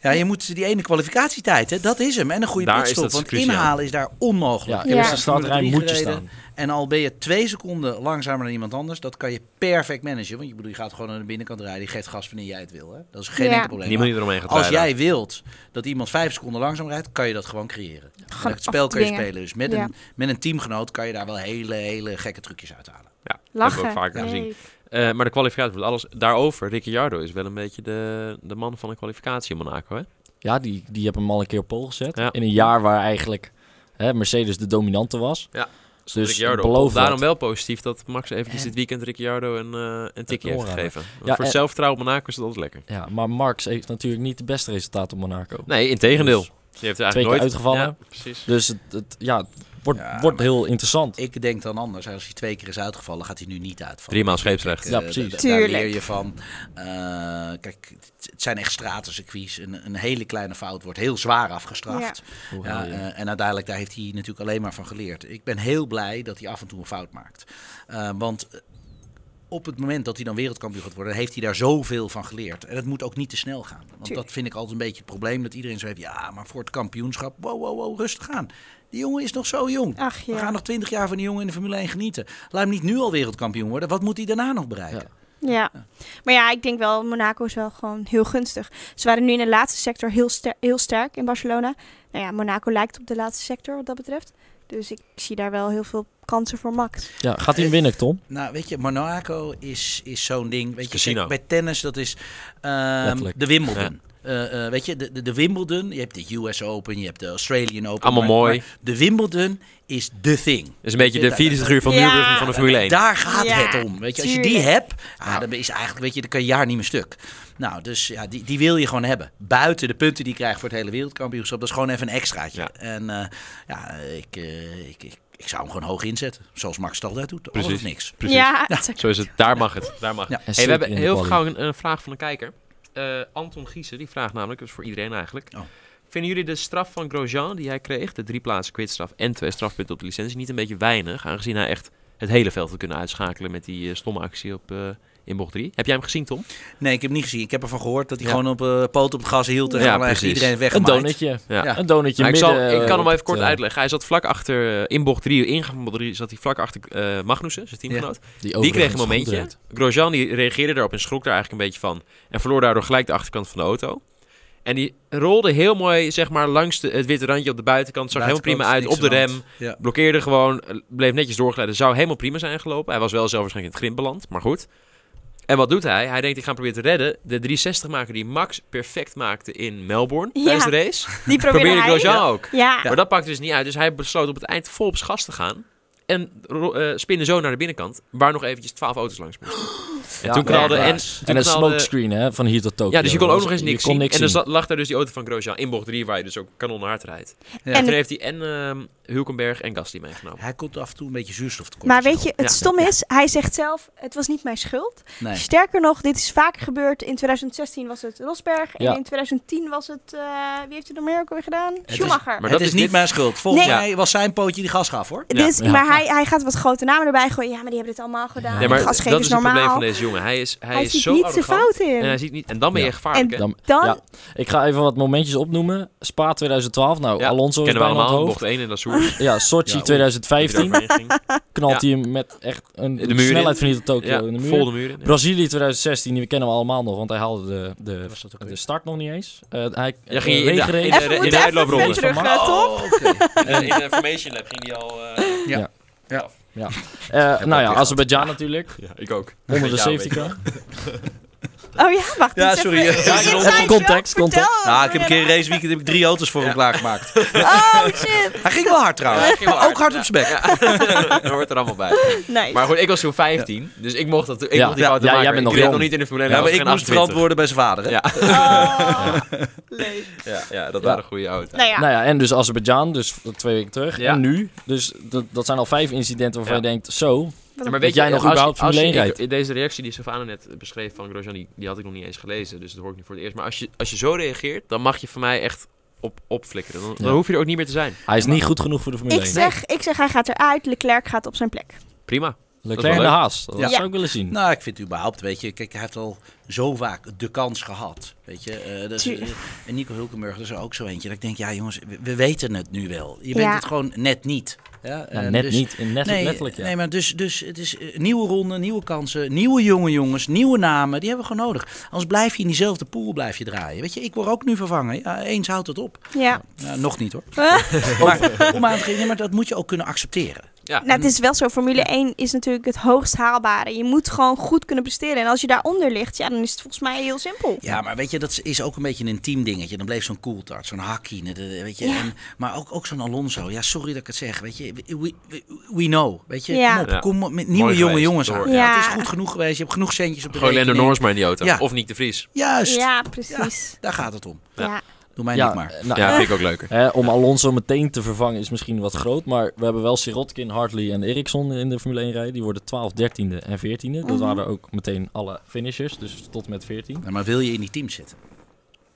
B: Ja, je moet die ene kwalificatietijd, hè, dat is hem. En een goede
A: Daar is
B: pitstop,
A: dat
B: want
A: cruciaal.
B: inhalen is daar onmogelijk.
C: Ja,
D: Ja.
C: eerste startrij
B: Formule
C: moet je
B: drie
C: staan.
B: gereden. En al ben je twee seconden langzamer dan iemand anders, dat kan je perfect managen. Want je, bedoel, je gaat gewoon aan de binnenkant rijden, je geeft gas wanneer jij het wil. Hè. Dat is geen
D: Ja.
B: enkel probleem.
A: Niemand die eromheen gaat
B: Als
A: rijden.
B: jij wilt dat iemand vijf seconden langzaam rijdt, kan je dat gewoon creëren.
D: Gewoon
B: het spel kan je
D: afdwingen.
B: spelen. Dus met,
D: Ja.
B: een, met een teamgenoot kan je daar wel hele, hele gekke trucjes uithalen.
A: Ja,
D: Lachen.
A: Dat hebben we ook vaker
D: Nee.
A: gezien. Eh, maar de kwalificatie wordt alles daarover. Ricciardo is wel een beetje de, de man van de kwalificatie in Monaco.
C: Dus
A: Hè?
C: Ja, die, die hebben hem al een keer op pol gezet.
A: Ja.
C: In een jaar waar eigenlijk hè, Mercedes de dominante was.
A: Ja.
C: Dus
A: Ricciardo.
C: beloof
A: Daarom
C: dat.
A: wel positief dat Max eventjes
C: En-
A: dit weekend Ricciardo een, eh een tikje heeft
C: oorrader.
A: gegeven. Want
C: Ja, eh,
A: voor
C: en-
A: het zelfvertrouwen op Monaco is dat altijd lekker.
C: Ja, maar Marx heeft natuurlijk niet het beste resultaat op Monaco.
A: Nee, in tegendeel.
C: Dus
A: Die heeft
C: twee
A: eigenlijk
C: keer
A: nooit...
C: uitgevallen.
A: Ja, precies.
C: Dus het, het- ja, het wordt,
B: Ja,
C: wordt
B: maar-
C: heel interessant.
B: Ik denk dan anders. Als hij twee keer is uitgevallen, gaat hij nu niet uitvallen.
A: Driemaal scheepsrecht.
C: Ja,
B: Eh,
C: precies.
B: da- da- Daar leer
D: Tuurlijk.
B: je van. Eh, kijk, het- het zijn echt stratencircuits. Een, een hele kleine fout wordt heel zwaar afgestraft. Ja,
C: Hoewel,
B: eh, en uiteindelijk daar heeft hij natuurlijk alleen maar van geleerd. Ik ben heel blij dat hij af en toe een fout maakt. Eh, want eh, op het moment dat hij dan wereldkampioen gaat worden, heeft hij daar zoveel van geleerd. En het moet ook niet te snel gaan. Want
D: Tuurlijk.
B: dat vind ik altijd een beetje het probleem. Dat iedereen zo heeft, ja, maar voor het kampioenschap, wow, wow, wow, rustig aan. Die jongen is nog zo jong.
D: Ach
B: We gaan
D: ja.
B: nog twintig jaar van die jongen in de Formule 1 genieten. Laat hem niet nu al wereldkampioen worden. Wat moet hij daarna nog bereiken?
C: Ja.
D: ja. Maar ja, ik denk wel, Monaco is wel gewoon heel gunstig. Ze waren nu in de laatste sector heel, ster- heel sterk in Barcelona. Nou ja, Monaco lijkt op de laatste sector wat dat betreft. Dus ik zie daar wel heel veel kansen voor Max.
C: ja, gaat hij hem winnen, Tom?
B: Nou, weet je, Monaco is, is zo'n ding. Weet je,
A: Casino.
B: kijk, bij tennis, dat is ehm,
C: Letterlijk.
B: de Wimbledon. Eh, eh, weet je, de, de, de Wimbledon, je hebt de US Open, je hebt de Australian Open.
A: Allemaal
B: maar-
A: mooi.
B: maar de Wimbledon is the thing.
A: Dat is een beetje de
B: Ja,
A: 40 uur van
D: ja.
A: Nürburgring van de Formule 1.
B: Daar gaat
D: Ja,
B: het om. Weet je, als je die
D: tuurlijk.
B: hebt, ah, dan is eigenlijk, weet je, dan kan je jaar niet meer stuk. Nou, dus ja, die, die wil je gewoon hebben. Buiten de punten die je krijgt voor het hele wereldkampioenschap, dat is gewoon even een extraatje.
A: Ja.
B: En eh, ja, ik, eh, ik, ik, ik zou hem gewoon hoog inzetten. Zoals Max het altijd doet. Alles
A: Precies.
B: of niks.
A: Precies.
D: Ja, het is-
A: Zo is het. Daar mag het. Daar mag het.
B: Ja.
C: En
A: Hey, we
C: zeker
A: hebben
C: in de
A: heel
C: quali.
A: gauw een, een vraag van een kijker. Eh, Anton Giezen, die vraagt namelijk, dat is voor iedereen eigenlijk.
B: Oh.
A: Vinden jullie de straf van Grosjean die hij kreeg, de drie plaatsen kwitstraf en twee strafpunten op de licentie, niet een beetje weinig? Aangezien hij echt het hele veld had kunnen uitschakelen met die eh, stomme actie op, eh, in bocht 3. Heb jij hem gezien, Tom?
B: Nee, ik heb hem niet gezien. Ik heb ervan gehoord dat hij
A: Ja.
B: gewoon op eh poot op het gas hield en
A: Ja,
B: gewoon echt
A: precies.
B: iedereen
C: Een
B: weggemaaid.
C: donutje.
A: Ja.
B: Ja.
C: Een donutje
A: Maar Nou, ik,
C: midden,
A: zal, ik kan hem
C: eh,
A: wel even kort
C: eh,
A: uitleggen. Hij zat vlak achter, eh, in bocht 3, ingang van bocht 3, zat hij vlak achter eh, Magnussen, zijn teamgenoot. Die kreeg een
C: overigens goed
A: momentje.
C: reed.
A: Grosjean die reageerde daarop en schrok daar eigenlijk een beetje van. En verloor daardoor gelijk de achterkant van de auto. En die rolde heel mooi zeg maar, langs de- het witte randje op de buitenkant. Zag helemaal prima uit op de rem.
B: Ja.
A: Blokkeerde gewoon. eh, Bleef netjes doorglijden. Zou helemaal prima zijn gelopen. Hij was wel zelf waarschijnlijk in het grind beland. Maar goed. En wat doet hij? Hij denkt ik ga hem proberen te redden. De 360 maken die Max perfect maakte in Melbourne
D: Ja.
A: tijdens de race.
D: Die probeerde
A: Probeerde
D: hij.
A: Grosjean ook.
D: Ja,
A: Maar dat pakte dus niet uit. Dus hij besloot op het eind vol op zijn gas te gaan. En ro- eh, spinnen zo naar de binnenkant, waar nog eventjes twaalf auto's langs moesten. En
C: Ja,
A: toen knalde...
B: ja,
A: en,
B: ja.
A: toen
C: En een
A: knalde-
C: smokescreen hè, van hier tot Tokio.
A: Ja, dus je kon ook nog eens
C: Je
A: niks
C: kon
A: zien. en
C: zien.
A: dan zat- lag daar dus die auto van Grosjean in bocht 3, waar je dus ook kanonhard rijdt.
B: Ja.
A: En
D: En-
A: toen heeft hij en ehm Hulkenberg en Gasly meegenomen.
B: Hij komt af en toe een beetje zuurstof tekort.
D: maar weet je, het
A: Ja.
D: stom is, hij zegt zelf, het was niet mijn schuld.
B: Nee.
D: Sterker nog, dit is vaker gebeurd. In 2016 was het Rosberg
C: Ja.
D: en in 2010 was het, eh, wie heeft het nog meer ook weer gedaan?
B: is-
D: Schumacher.
A: maar
B: het
A: dat
B: is
A: is
B: niet
A: dit-
B: mijn schuld. Volgens
D: Nee.
B: mij was zijn pootje die gas gaf hoor.
A: Ja.
D: Dus,
C: Ja.
D: Maar hij hij, hij gaat wat grote namen erbij gooien. Ja, maar die hebben dit allemaal gedaan.
A: Nee,
D: De
A: maar dat is
D: gastgever is
A: het probleem
D: normaal.
A: van deze jongen. Hij is, hij
D: hij
A: is
D: ziet
A: zo
D: niet zijn
A: arrogant.
D: fout in.
A: En, hij ziet niet, en dan ben je
C: Ja.
A: gevaarlijk.
D: En
A: hè?
C: Dan,
D: Dan,
C: Ja. ik ga even wat momentjes opnoemen. Spa 2012. Nou,
A: Ja,
C: Alonso is
A: Kennen we
C: bijna het
A: allemaal,
C: hoofd.
A: bocht 1 en dat soort.
C: Ja, Sochi
B: Ja,
C: 2015. Knalt
A: Ja.
C: hij hem met echt een
A: De muur
C: snelheid
A: in.
C: van hier tot Tokio
A: Ja,
C: in de muur.
A: vol de muur in.
C: Brazilië 2016, die kennen we allemaal nog, want hij haalde de, de,
B: Was dat ook
C: de
B: weer?
C: start nog niet eens. Eh hij
A: Ja, ging
C: eh,
A: je in de-
C: regenrace.
A: in de-
D: even, we moeten even
A: uitloopronde.
D: weer terug
C: Van
D: naar top.
B: Oh, oké.
A: In de Information Lab ging die al...
C: Eh, nou ja,
B: gehad.
C: Azerbeidzjan natuurlijk.
A: Ja, ik ook.
C: Onder de
B: Ja,
C: safety car.
D: Oh ja, wacht.
B: Ja,
D: dit is
B: sorry.
D: Even,
B: Ja,
D: dit is
B: even
D: inside
C: context,
D: joke. Vertel
C: context.
B: Nou, ik heb een
D: over
B: keer race weekend heb ik drie auto's voor hem klaargemaakt.
D: Red- Oh shit.
B: Hij ging wel hard trouwens.
A: ging wel
B: Maar ook hard op zijn bek.
A: Dat hoort er allemaal bij.
D: Nice.
A: Maar goed, ik was toen 15, dus ik mocht, dat, ik
C: Ja.
A: mocht die
C: Ja,
A: fouten
C: ja,
A: maken.
C: jij bent
A: ik
C: nog
A: reed
C: jong.
A: nog niet in de Formule 1.
B: Ja, maar ik moest verantwoorden bij zijn vader. Hè?
A: Ja.
D: Oh, leuk.
A: Ja, ja, dat
C: Ja.
A: waren goede auto's.
D: Nou ja,
C: Nou ja, en dus Azerbeidzjan, dus twee weken terug.
A: Ja.
C: En nu. Dus dat, dat zijn al vijf incidenten
A: Ja.
C: waarvan je denkt, zo.
A: Ja,
C: Dat jij nog
A: als-
C: überhaupt
A: als
C: Formule
A: je-
C: 1
A: ik- Deze reactie die Savannah net beschreef van Grosjean, die, die had ik nog niet eens gelezen. Dus dat hoor ik nu voor het eerst. Maar als je, als je zo reageert, dan mag je van mij echt op, opflikkeren. Dan, dan
C: Ja.
A: hoef je er ook niet meer te zijn.
C: Hij is niet goed genoeg voor de Formule
D: ik
C: 1.
D: zeg, ik zeg hij gaat eruit. Leclerc gaat op zijn plek.
A: Prima.
C: Leclerc en
A: wel
C: de
A: leuk.
C: Haas. Dat
B: Ja.
C: zou ik willen zien.
B: Nou, ik vind überhaupt, weet je, kijk, hij heeft al zo vaak de kans gehad. Weet je, Eh, dat is-
D: Tuurlijk.
B: en Nico Hulkenburg is er ook zo eentje. Dat ik denk, ja jongens, we, we weten het nu wel. Je
D: Ja.
B: bent het gewoon net niet. Ja,
C: Ja,
B: eh,
C: Nou, net
B: dus-
C: niet. In net,
B: Nee,
C: letterlijk, ja.
B: nee, maar dus, dus het is eh, nieuwe ronden, nieuwe kansen, nieuwe jonge jongens, nieuwe namen. Die hebben we gewoon nodig. Anders blijf je in diezelfde pool blijf je draaien. Weet je, ik word ook nu vervangen. Ja, eens houdt het op.
D: Ja.
B: Nou, nog niet hoor.
D: Eh,
B: Maar, om aan te geven, nee, maar dat moet je ook kunnen accepteren.
D: nou, het is wel zo. Formule 1 is natuurlijk het hoogst haalbare. Je moet gewoon goed kunnen presteren. En als je daaronder ligt, ja, dan is het volgens mij heel simpel.
B: Ja, maar weet je, dat is ook een beetje een team dingetje. Dan bleef zo'n koeltart, zo'n hakkie, de- de- weet je.
D: Ja.
B: En, maar ook, ook zo'n Alonso. Ja, sorry dat ik het zeg, weet je. We, we, we know, weet je.
D: Ja.
B: Kom op,
A: Ja.
B: kom op met nieuwe
A: Mooi
B: jonge
A: geweest,
B: jongens
A: door.
B: aan.
D: Ja.
B: Het is goed genoeg geweest, je hebt genoeg centjes op de
A: Gewoon Lando
B: rekening.
A: Norris maar in die auto.
B: Ja.
A: Of Nick de Vries.
B: Juist,
D: Ja, precies.
B: daar gaat het om.
D: Ja.
B: Doe mij
C: Ja,
B: niet maar.
C: nou,
A: ja, vind ik ook leuker.
C: Hè, om Alonso meteen te vervangen is misschien wat groot. Maar we hebben wel Sirotkin, Hartley en Eriksson in de Formule 1 rijden. Die worden 12, 13e en 14e. Dat
D: Mhm.
C: waren ook meteen alle finishers. Dus tot en met 14.
B: Ja, maar wil je in die team zitten?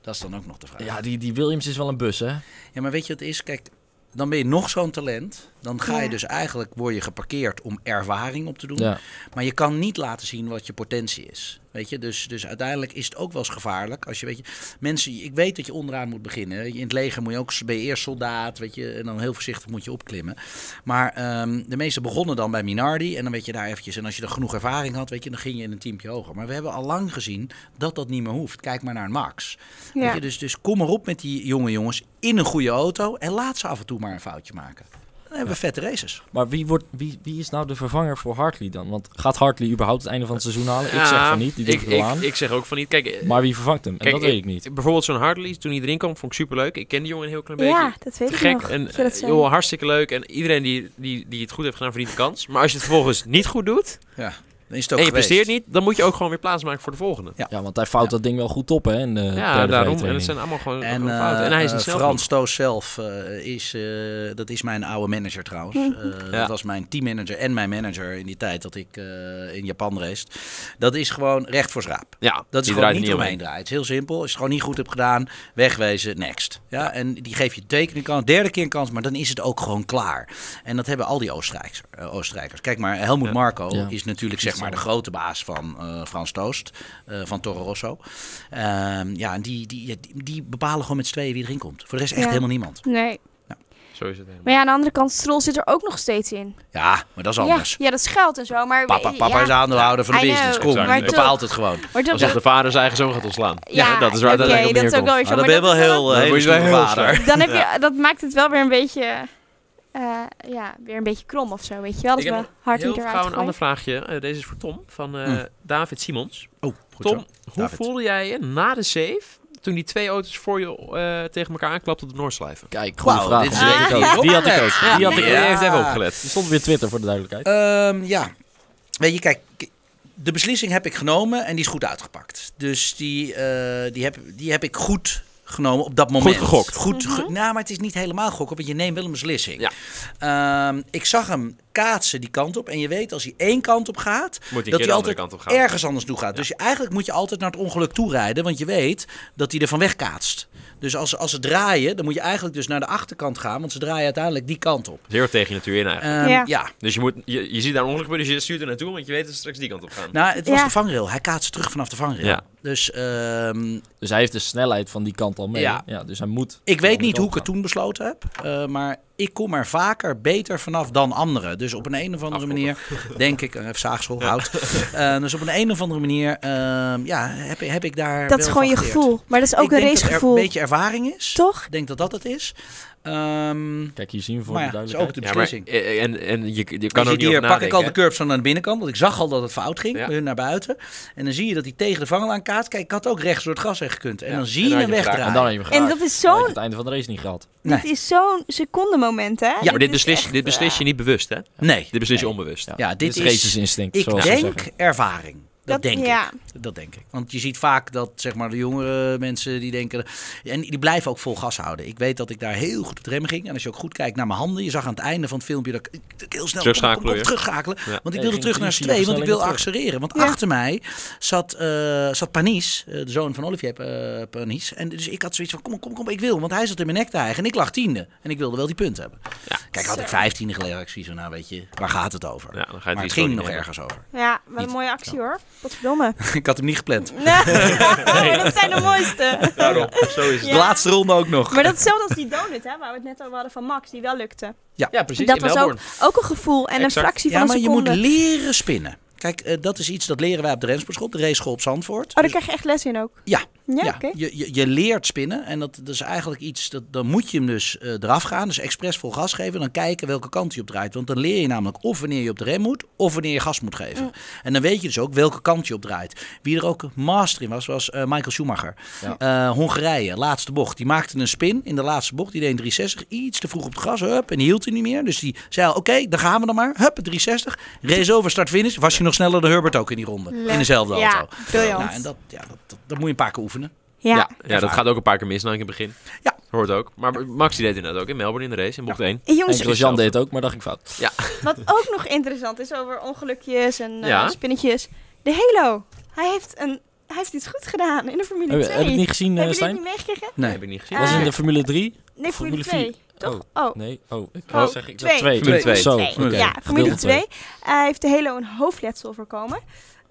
B: Dat is dan ook nog de vraag. Ja,
C: Ja, die, die Williams is wel een bus, hè?
B: maar weet je wat het is? Kijk, dan ben je nog zo'n talent. Dan ga je
D: Ja.
B: dus eigenlijk, word je geparkeerd om ervaring op te doen.
C: Ja.
B: Maar je kan niet laten zien wat je potentie is. Weet je, dus, dus uiteindelijk is het ook wel eens gevaarlijk. Als je, weet je, mensen, ik weet dat je onderaan moet beginnen. hè. In het leger moet je ook, ben je eerst soldaat, weet je, en dan heel voorzichtig moet je opklimmen. Maar ehm, de meesten begonnen dan bij Minardi en dan weet je daar eventjes. En als je dan genoeg ervaring had, weet je, dan ging je in een teampje hoger. Maar we hebben al lang gezien dat dat niet meer hoeft. Kijk maar naar een Max.
D: Ja.
B: Weet je, dus, dus kom erop met die jonge jongens in een goede auto en laat ze af en toe maar een foutje maken. Dan hebben we vette races.
C: Maar wie, wordt, wie, wie is nou de vervanger voor Hartley dan? Want gaat Hartley überhaupt het einde van het seizoen halen? Ik zeg
A: Ja,
C: van niet, die doet
A: ik,
C: het wel
A: ik,
C: aan.
A: ik zeg ook van niet. Kijk, eh,
C: maar wie vervangt hem? En
A: kijk,
C: dat weet ik niet.
A: Bijvoorbeeld zo'n Hartley, toen hij erin kwam, vond ik superleuk. Ik ken die jongen een heel klein beetje.
D: Ja, dat weet
A: Te
D: ik
A: gek
D: nog.
A: en
D: dat je dat
A: eh,
D: zei.
A: joh, hartstikke leuk. En iedereen die, die, die het goed heeft gedaan, verdient de kans. Maar als je het vervolgens niet goed doet
B: Dan is het ook
A: en je
B: geweest.
A: presteert niet, dan moet je ook gewoon weer plaatsmaken voor de volgende.
C: Ja, want hij fout dat ding wel goed op, hè? In de
A: Ja, daarom. En
C: derde vrije
A: het
C: training.
A: zijn allemaal gewoon,
B: En,
A: gewoon fouten. En hij is
B: eh,
A: niet snel
B: Frans Toos zelf eh, is, eh, dat is mijn oude manager trouwens. Eh,
A: Ja.
B: Dat was mijn teammanager en mijn manager in die tijd dat ik eh, in Japan race. Dat is gewoon recht voor schraap.
A: Ja,
B: Dat is
A: die
B: gewoon
A: draait er
B: niet
A: niet
B: omheen
A: omheen.
B: draaien. Het is heel simpel. Als je het gewoon niet goed hebt gedaan, wegwezen, next. Ja, En die geef je tekenen kans, derde keer een kans, maar dan is het ook gewoon klaar. En dat hebben al die Oostenrijkers. eh, Oostenrijkers. Kijk maar, Helmut
A: Ja.
B: Marco
C: Ja.
B: is natuurlijk zeg maar de grote baas van eh, Frans Toost, eh, van Toro Rosso. Ehm, ja, en die, die, die, die bepalen gewoon met z'n tweeën wie erin komt. Voor de rest echt
D: Ja.
B: helemaal niemand.
D: Nee.
A: Zo is het helemaal.
D: Maar ja, aan de andere kant, Stroll zit er ook nog steeds in.
B: Ja, maar dat is
D: Ja,
B: anders.
D: ja, dat is geld en zo. Maar
B: Papa, papa
D: ja.
B: is aandeelhouder van de
D: I know,
B: business. Kom,
A: maar
B: die
A: toch-
B: bepaalt het gewoon.
D: Maar dat,
A: Als echt de vader zijn eigen zoon gaat ontslaan.
D: ja,
A: dat is waar
D: oké,
A: dat eigenlijk
D: dat
A: op
D: is
A: neerkomt.
D: ook wel weer
B: Nou,
D: zo.
B: dan
D: maar
B: ben je wel
D: dat is
B: heel,
A: Dan
B: heel,
A: moet je wel
B: stoere
A: heel
B: vader.
A: sterk.
D: Dan heb je, dat maakt het wel weer een beetje, eh, ja, weer een beetje krom of zo, weet je wel.
A: Ik
D: Dat
A: heb
D: we
A: nog
D: hard
A: Heel
D: niet eruit
A: gauw een
D: gooien.
A: ander vraagje. Eh, deze is voor Tom, van eh,
B: Mm.
A: David Simons.
B: Oh, goed
A: Tom,
B: zo.
A: hoe
B: David.
A: voelde jij je na de save toen die twee auto's voor je eh, tegen elkaar aanklapten op de Noordslijven?
C: Kijk, goede
B: Wauw,
C: vraag.
B: dit is
C: Die
B: echt
C: had ik ook. Die had ik ook. Die had ik
A: Die
B: Ja.
A: heeft even opgelet.
C: Die stond weer Twitter voor de duidelijkheid.
B: Ehm, ja, weet je, kijk, k- de beslissing heb ik genomen en die is goed uitgepakt. Dus die, eh, die, heb, die heb ik goed genomen op dat moment.
A: gegokt.
B: Goed, ge-
D: Mhm.
B: nou, maar het is niet helemaal gokken, want je neemt wel een beslissing.
A: Ja.
B: Ehm, ik zag hem kaatsen die kant op. En je weet, als hij één kant op gaat,
A: Moet hij een
B: dat
A: keer
B: hij
A: de andere
B: altijd
A: kant op gaan.
B: ergens anders toe gaat. Dus je- eigenlijk moet je altijd naar het ongeluk toe rijden, want je weet dat hij er van weg kaatst. Dus als, als ze draaien, dan moet je eigenlijk dus naar de achterkant gaan, want ze draaien uiteindelijk die kant op.
A: Zeer tegen je natuur in eigenlijk.
B: Ehm,
D: Ja.
B: ja.
A: dus je, moet, je, je ziet daar een ongeluk gebeuren, dus je stuurt er naartoe, want je weet dat ze straks die kant op gaan.
B: Nou, het was
D: Ja.
B: de vangrail. Hij kaatste terug vanaf de vangrail.
A: Ja.
B: Dus ehm,
C: Dus hij heeft de snelheid van die kant al mee.
B: Ja.
C: Ja. dus hij moet.
B: Ik weet niet hoe ik
C: kan
B: het toen besloten heb, eh, maar ik kom er vaker beter vanaf dan anderen. Dus op een, een of andere manier, denk ik, eh, even zaagsel, hout. Eh, dus op een, een of andere manier ehm, ja, heb, heb ik daar.
D: Dat is
B: wel
D: gewoon
B: van
D: je
B: geleerd.
D: gevoel. Maar dat is ook
B: ik
D: een
B: denk dat er
D: racegevoel.
B: een beetje ervaring is.
D: Toch?
B: Ik denk dat dat het is. Ehm,
C: Kijk, hier zien we voor
B: maar
C: de
B: ja, het is ook
C: duidelijkheid.
B: de
A: ja, maar,
B: beslissing.
A: eh, en, en je, je kan
B: Je
A: ook
B: ziet
A: niet over
B: hier pak ik
A: nadenken.
B: al de
A: hè?
B: curbs aan de binnenkant, want ik zag al dat het fout ging,
A: Ja.
B: bij hun naar buiten. En dan zie je dat hij tegen de vangrail aan kaart. Kijk, ik had ook rechts door het gas heen gekund. En
A: Ja,
B: dan
A: en
B: zie je
A: dan
B: hem
A: had je hem
B: wegdraaien.
C: En dan heb je hem
D: En
C: geraakt.
D: dat is
C: Dan had je
D: zo'n
C: het einde van de race niet gehad.
D: dit is zo'n secondenmoment, hè?
A: Ja, maar dit
D: is
A: beslis,
D: echt, eh,
A: dit beslis je niet bewust, hè?
B: Nee,
A: Dit beslis je onbewust.
C: Ja,
B: Ja, dit
C: is
B: is-
C: racesinstinct.
B: ik
C: zoals ze
B: denk
C: zeggen.
B: ervaring. Dat, denk ik.
D: ja.
B: Dat denk ik. Want je ziet vaak dat zeg maar, de jongere mensen die denken. En die blijven ook vol gas houden. Ik weet dat ik daar heel goed op de rem ging. En als je ook goed kijkt naar mijn handen. Je zag aan het einde van het filmpje dat ik- ik heel snel
A: Terugschakelen,
B: kom, kom, kom,
A: ja.
B: terugschakelen.
A: Ja.
B: Want ik
C: Ja,
B: wilde
C: je
B: terug
C: ging
B: naar
C: drie,
B: twee.
C: vier
B: Want ik wilde
C: versnellingen
B: accelereren. Want
D: Ja.
B: achter mij zat, eh zat Panis. eh, de zoon van Olivier eh, Panis. En dus ik had zoiets van: kom, op, kom, op, kom. op, Ik wil. Want hij zat in mijn nek te eigen. En ik lag tiende. En ik wilde wel die punt hebben.
A: Ja.
B: Kijk, had ik
D: Zo.
B: vijftiende geleden. had Ik zoiets van: nou weet je, waar gaat het over?
A: Ja, nou, dan ga je
B: maar
A: risico
B: het ging
A: niet
B: nog
A: nemen.
B: ergens over.
D: Ja, wat
B: Niet.
D: een mooie actie hoor. Wat verdomme.
B: ik had hem niet gepland.
D: Nee, dat zijn de mooiste.
A: Daarop, zo is het.
D: Ja.
B: De laatste ronde ook nog.
D: Maar dat is hetzelfde als die donut, hè, waar we het net over hadden van Max, die wel lukte.
A: Ja, precies.
D: dat
A: in
D: was ook,
A: Melbourne.
D: ook een gevoel en een
A: Exact.
D: fractie
B: Ja,
D: van
B: maar
D: een
B: je moet
D: seconde.
B: leren spinnen. Kijk, eh, dat is iets dat leren wij op de Rensportschool, de raceschool op Zandvoort.
D: Oh, daar
B: Dus-
D: krijg je echt les in ook?
B: Ja.
D: Ja,
B: ja,
D: oké.
B: je, je, je leert spinnen en dat, dat is eigenlijk iets, dat, dan moet je hem dus eh, eraf gaan. Dus expres vol gas geven en dan kijken welke kant hij op draait. Want dan leer je namelijk of wanneer je op de rem moet, of wanneer je gas moet geven.
D: Mm.
B: En dan weet je dus ook welke kant je op draait. Wie er ook een master in was, was eh, Michael Schumacher. Eh, Hongarije, laatste bocht. Die maakte een spin in de laatste bocht. Die deed een 360, iets te vroeg op het gas, hup, en die hield hij niet meer. Dus die zei al, oké, dan gaan we dan maar. Hup, een 360, race over, start, finish. Was je nog sneller dan Herbert ook in die ronde, in dezelfde
D: ja,
B: auto.
D: briljant.
B: Nou, en dat, ja, dat, dat, dat moet je een paar keer oefenen.
D: ja.
A: Ja, ja, dat gaat ook een paar keer mis, namelijk in het begin.
B: Ja.
A: Hoort ook. Maar Max die deed inderdaad ook in Melbourne in de race, in bocht 1.
D: En
B: Oh,
D: jongens,
C: En Grosjean deed het ook, maar dat ging fout.
D: wat ook nog interessant is over ongelukjes en eh,
A: Ja.
D: spinnetjes. De Halo. Hij heeft, een, hij heeft iets goed gedaan in de Formule
C: Heb,
D: 2.
C: heb ik niet gezien,
D: Heb
C: eh
D: je dit
C: Stijn?
D: niet meegekregen?
B: Nee.
A: Heb ik niet gezien.
D: Eh,
C: Was in de Formule 3?
D: Nee, Formule
C: Formule
D: 2. Toch? Oh,
C: Nee. Oh, ik
D: Oh,
C: zeg ik
D: twee.
C: twee.
A: Formule twee.
C: Zo,
D: Twee.
C: oké.
D: Ja, Formule
C: Gedeelte
D: 2. Hij heeft de Halo een hoofdletsel voorkomen.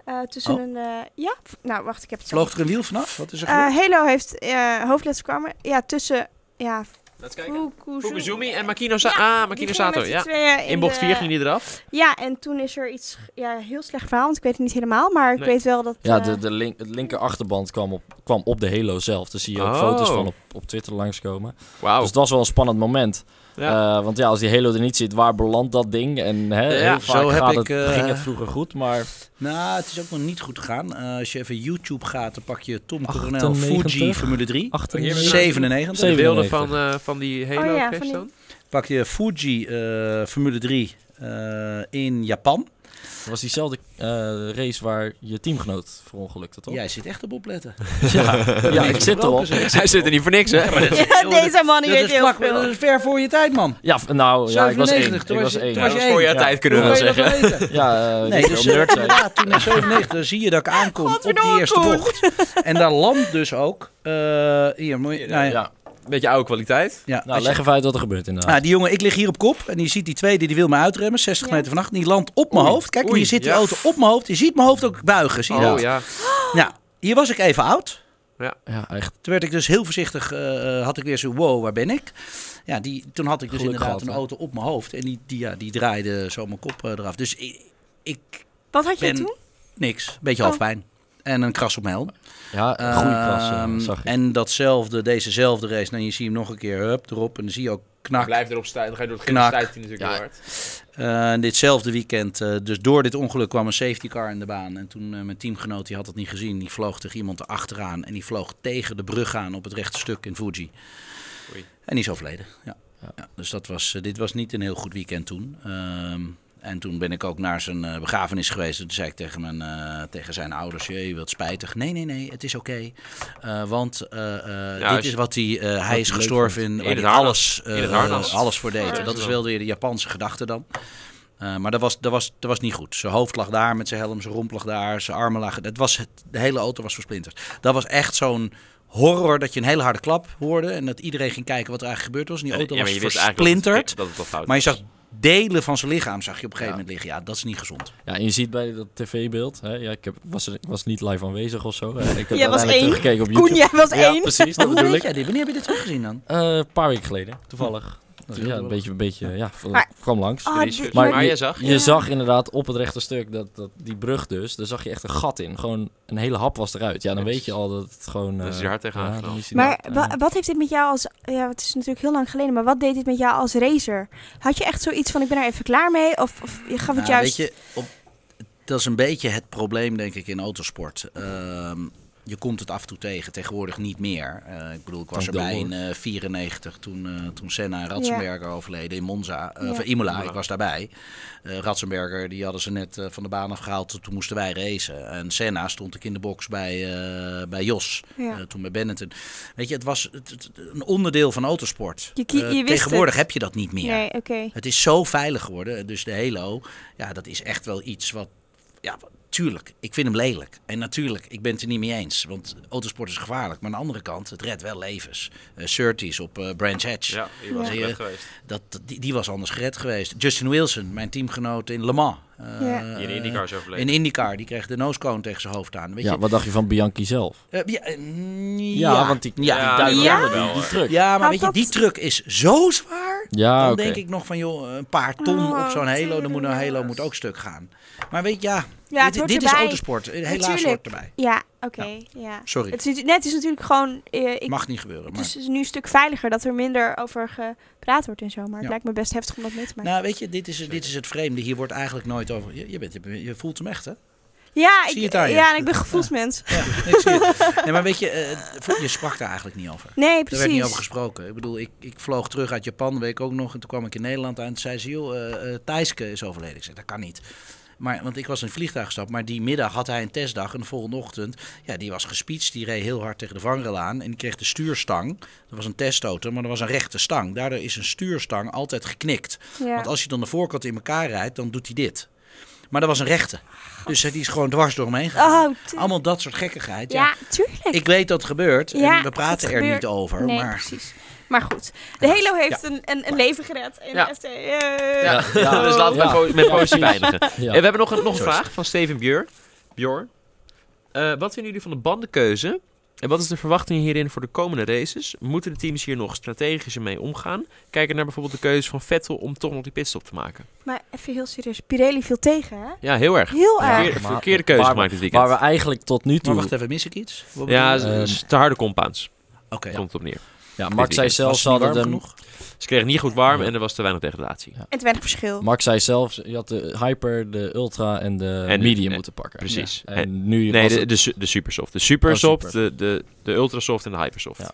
D: Eh, tussen
B: Oh.
D: een... eh, ja? Nou, wacht, ik heb het zo.
B: Vloog er een wiel vanaf? Wat is er
D: Eh,
B: gebeurd?
D: Halo heeft eh hoofdletsel voorkomen. Ja, tussen... Ja,
A: Laten we kijken.
D: Fukuzu-
A: Fukuzumi en Makino, Sa
D: Ja,
A: ah,
D: die
A: Makino
D: gingen
A: Sato.
D: met z'n
A: Ja.
D: tweeën
A: In bocht
D: de-
A: 4 ging die eraf.
D: Ja, en toen is er iets... Ja, heel slecht verhaal, want ik weet het niet helemaal. Maar ik
A: Nee.
D: weet wel dat...
C: Ja,
D: eh,
C: de, de link, het linker achterband kwam op, kwam op de Halo zelf. Daar zie je ook
A: Oh.
C: foto's van op, op Twitter langskomen.
A: Wauw.
C: Dus dat was wel een spannend moment.
A: Ja.
C: Eh, want ja, als die Halo er niet zit, waar belandt dat ding? En hè,
A: Ja,
C: heel vaak
B: zo heb
C: gaat
B: ik,
C: het,
B: eh,
C: ging het vroeger goed, maar...
B: Nou, het is ook nog niet goed gegaan. Eh, als je even YouTube gaat, dan pak je Tom Coronel
C: 98.
B: Fuji Formule 3.
C: Achter...
A: Hier weer-
B: 97.
A: De beelden
C: 97.
A: van, eh, van die Halo
D: Oh ja,
A: crash
D: van die-
A: dan?
B: Pak je Fuji eh, Formule 3 eh, in Japan.
C: Het was diezelfde eh, race waar je teamgenoot verongelukte, toch?
B: Jij zit echt op opletten.
C: Ja, ja, ik zit erop.
A: Hij zit er niet voor niks, hè?
D: ja,
B: joh, Oh, dat-
D: deze man
B: Dat
D: die weet
B: is,
D: heel
B: vlak, dat
D: veel.
B: is ver voor je tijd, man.
C: Ja, v- nou, ja, ik was één.
B: 97,
C: Ik
B: toen was
C: was
B: je-
C: één.
B: toen was
A: Dat
C: ja.
A: is voor
B: één,
A: jouw
B: ja.
A: tijd kunnen
B: Hoe
A: we
B: wil
A: wel
B: je dat
A: zeggen.
B: weten?
C: Ja, eh,
B: Nee,
C: ik
B: dus
C: wil nerd
B: eh,
C: zijn.
B: inderdaad, toen in 97 zie je dat ik aankom op die
D: Godverdomme,
B: eerste
D: Koen.
B: bocht. En daar landt dus ook... eh, hier, moet je... nou ja,
C: Ja,
A: Beetje oude kwaliteit.
B: ja, als
C: nou,
B: je-
C: leg even uit wat er gebeurt inderdaad.
B: Nou, die jongen, ik lig hier op kop en je ziet die tweede, die wil me uitremmen, 60
D: Ja.
B: meter vannacht. En die landt op mijn
A: Oei,
B: hoofd. Kijk,
A: oei,
B: hier zit die
A: ja.
B: auto op mijn hoofd. Je ziet mijn hoofd ook buigen, zie je
A: Oh
B: dat?
A: ja.
B: Nou, hier was ik even oud.
C: Ja, echt.
B: Toen werd ik dus heel voorzichtig, eh, eh, had ik weer zo, wow, waar ben ik? Ja, die, toen had ik dus
C: Geluk
B: inderdaad
C: gehad,
B: een
C: hè?
B: auto op mijn hoofd. En die, die, ja, die draaide zo mijn kop eh, eraf. Dus ik, ik-
D: Wat had je
B: Ben-
D: toen?
B: niks, beetje
D: Oh.
B: hoofdpijn. En een kras op mijn helm.
C: Ja, een goede
B: Ehm,
C: klasse, eh, zag ik.
B: En datzelfde, dezezelfde race. Nou, je ziet hem nog een keer, hup, erop. En dan zie je ook knak.
A: Blijf erop staan. Dan ga je door het
B: Knak.
A: gras stuit hij natuurlijk
C: Ja.
A: heel hard.
B: Eh, ditzelfde weekend, eh, dus door dit ongeluk kwam een safety car in de baan. En toen eh, mijn teamgenoot, die had het niet gezien, die vloog tegen iemand erachteraan. En die vloog tegen de brug aan op het rechte stuk in Fuji.
A: Oei.
B: En die is overleden. Ja.
C: Ja.
B: Ja, dus dat was, eh, dit was niet een heel goed weekend toen. Ehm, En toen ben ik ook naar zijn eh, begrafenis geweest. Toen zei ik tegen, mijn, eh, tegen zijn ouders, je wilt spijtig. Nee, nee, nee, het is oké. Eh, want eh, eh,
A: Ja,
B: dit
A: als-
B: is wat hij, eh, hij is
C: leuk
B: gestorven in, waar
A: In het
B: hij
A: harnas.
B: alles, eh,
A: In het harnas.
B: alles voor deed.
D: Ja.
B: dat is wel weer de Japanse gedachte dan. Eh, maar dat was, dat, was, dat was niet goed. Zijn hoofd lag daar met zijn helm, zijn romp lag daar, zijn armen lagen. Het was, het, de hele auto was versplinterd. Dat was echt zo'n horror dat je een hele harde klap hoorde. En dat iedereen ging kijken wat er eigenlijk gebeurd was. En die auto
A: Ja, maar
B: was
A: je wist eigenlijk dat het-
B: versplinterd.
A: Dat het al fout
B: Maar je
A: was.
B: zag delen van zijn lichaam zag je op een gegeven
C: Ja.
B: moment liggen. Ja, dat is niet gezond.
C: Ja, en je ziet bij dat tv-beeld, hè, ja, ik heb, was, er- ik was niet live aanwezig of zo. hè. Ik heb
D: Jij was
C: uiteindelijk
D: één.
C: teruggekeken op YouTube.
D: Koen, jij was
C: Ja,
D: één.
C: precies, dat bedoel ik.
B: jij dit? Wanneer heb je dit teruggezien dan?
C: Eh, Een paar weken geleden, toevallig.
B: Dat is heel
C: Ja, een
B: toevallig.
C: beetje, een beetje, ja, v-
D: Maar-
C: kwam langs.
D: Ah,
A: Research.
D: dit-
A: maar,
C: Maar
A: je zag.
C: Je zag inderdaad op het rechte stuk dat, dat die brug dus, daar zag je echt een gat in. Gewoon een hele hap was eruit. Ja, dan
A: Yes.
C: weet je al dat het gewoon...
A: Dan is
C: eh,
A: hij er hard tegen
C: ja, dan
A: aangelopen.
C: is hij
D: Maar
B: eh,
C: daar-
D: wa-
C: ja.
D: wat heeft dit met jou als... Ja, het is natuurlijk heel lang geleden, maar wat deed dit met jou als racer? Had je echt zoiets van, ik ben er even klaar mee? Of, of je gaf het
B: Nou,
D: juist...
B: Weet je, op, dat is een beetje het probleem, denk ik, in autosport. Ehm, je komt het af en toe tegen, tegenwoordig niet meer. Eh, ik bedoel, ik was
C: Dank
B: erbij in
C: Dilworth.
B: 1994 toen, eh, toen Senna en Ratzenberger overleden in Monza. eh, Of
D: Ja.
B: Imola,
A: Imola.
B: ik was daarbij. Eh Ratzenberger, die hadden ze net eh, van de baan afgehaald. Toen moesten wij racen. En Senna stond ik in de box bij, eh, bij Jos,
D: Ja.
B: eh, toen bij Benetton. Weet je, het was het- het- een onderdeel van autosport.
D: Je kie-
B: Eh,
D: je wist
B: tegenwoordig
D: het.
B: heb je dat niet meer.
D: Nee, oké.
B: Het is zo veilig geworden. Dus de Halo, ja, dat is echt wel iets wat. Ja, wat- tuurlijk, ik vind hem lelijk. En natuurlijk, ik ben het er niet mee eens. Want autosport is gevaarlijk. Maar aan de andere kant, het redt wel levens. Eh Surtees op eh, Branch Hatch.
A: Ja, je was
D: Ja.
A: gered geweest.
B: Dat, dat- die, die was anders gered geweest. Justin Wilson, mijn teamgenoot in Le Mans. eh,
D: Ja.
A: Die in de IndyCar is overleden.
B: In IndyCar, die kreeg de nosecone tegen zijn hoofd aan. Weet
C: ja,
B: je?
C: wat dacht je van Bianchi zelf?
B: Eh, ja, eh, mm,
C: Ja, want die-
B: ja,
A: Ja,
B: die duikt-
A: die
D: Ja?
A: hadden wel,
C: Die
A: eh,
C: truck.
B: ja, maar
D: Had
B: weet je,
D: dat-
B: die truck is zo zwaar.
C: Ja,
B: dan
C: Ah, oké.
B: denk ik nog van, joh, een paar ton
D: Oh,
B: op zo'n Halo. Dan moet een Halo
D: tuurlijk.
B: moet ook stuk gaan. Maar weet je, ja,
D: Ja, het
B: dit,
D: hoort
B: dit is
D: erbij.
B: autosport. Helaas
D: Natuurlijk.
B: hoort erbij.
D: Ja, oké. ja.
B: Nou, Sorry,
D: Het is, natu- nee, het is natuurlijk gewoon... eh, ik,
B: mag niet gebeuren.
D: het
B: Maar.
D: is nu een stuk veiliger dat er minder over gepraat wordt en zo. Maar het
B: Ja.
D: lijkt me best heftig om dat mee te maken.
B: Nou, weet je, dit is, dit is het vreemde. Hier wordt eigenlijk nooit over... Je, je, bent, je, je voelt hem echt, hè?
D: ja,
B: zie je
D: ik,
B: het aan je?
D: ja, en ik ben gevoelsmens.
B: Ja, ik zie het. Nee, maar weet je, eh, vo- je sprak daar eigenlijk niet over.
D: Nee,
B: Er werd niet over
D: precies.
B: gesproken. Ik bedoel, ik, ik vloog terug uit Japan, weet ik ook nog. En toen kwam ik in Nederland aan. En toen zei ze, joh, eh, eh, Thijske is overleden. Ik zei, dat kan niet. Maar, want ik was in het vliegtuig gestapt. Maar die middag had hij een testdag. En de volgende ochtend, ja, die was gespeeched. Die reed heel hard tegen de vangrail aan. En die kreeg de stuurstang. Dat was een testauto, maar dat was een rechte stang. Daardoor is een stuurstang altijd geknikt.
D: Ja.
B: Want als je dan de voorkant in elkaar rijdt, dan doet hij dit. Maar dat was een rechte. Dus eh, die is gewoon dwars door hem heen gegaan.
D: Oh, tu-
B: Allemaal dat soort gekkigheid. Ja,
D: ja, tuurlijk.
B: ik weet dat het gebeurt.
D: Ja,
B: en we praten
D: het
B: er
D: gebeurt.
B: niet over.
D: nee,
B: maar
D: precies. Maar goed, de Halo heeft een, een, een leven gered. En
A: Ja.
D: FT, eh,
A: Ja.
C: Ja.
A: Dus laten we
C: Ja.
A: met po- met
C: Ja,
A: positief
C: precies.
A: eindigen.
C: Ja.
A: Eh, we hebben nog een, nog een vraag van Steven Björ. Bjor. Eh, wat vinden jullie van de bandenkeuze? En wat is de verwachting hierin voor de komende races? Moeten de teams hier nog strategischer mee omgaan? Kijken naar bijvoorbeeld de keuze van Vettel om toch nog die pitstop te maken.
D: Maar even heel serieus, Pirelli viel tegen, hè?
A: Ja, heel erg.
D: Heel
C: Ja.
D: erg.
A: Verkeer-
C: maar-
A: verkeerde keuze
C: maar-
A: gemaakt dit weekend.
C: Waar we eigenlijk tot nu
B: Maar
C: toe...
B: wacht even, mis ik iets? Wat
A: ja,
B: bedoel je?
A: ze- ze- te harde compounds.
B: Oké.
A: Komt het op neer.
C: ja,
A: weekend.
C: Max zei
B: Was
C: zelf,
B: het
C: ze
B: niet
C: hadden
B: warm
C: hem-
B: genoeg?
A: Ze kregen niet goed warm en er was te weinig degradatie.
C: Ja.
D: En te weinig verschil.
C: Max zei zelf, je had de Hyper, de Ultra en de
A: En de-
C: Medium
A: eh,
C: moeten pakken.
A: precies.
C: Ja. En nu
A: Nee,
C: was
A: de,
C: het-
A: de, su- de supersoft. De supersoft,
C: Oh,
A: de, de, de ultrasoft en de hypersoft.
C: Ja.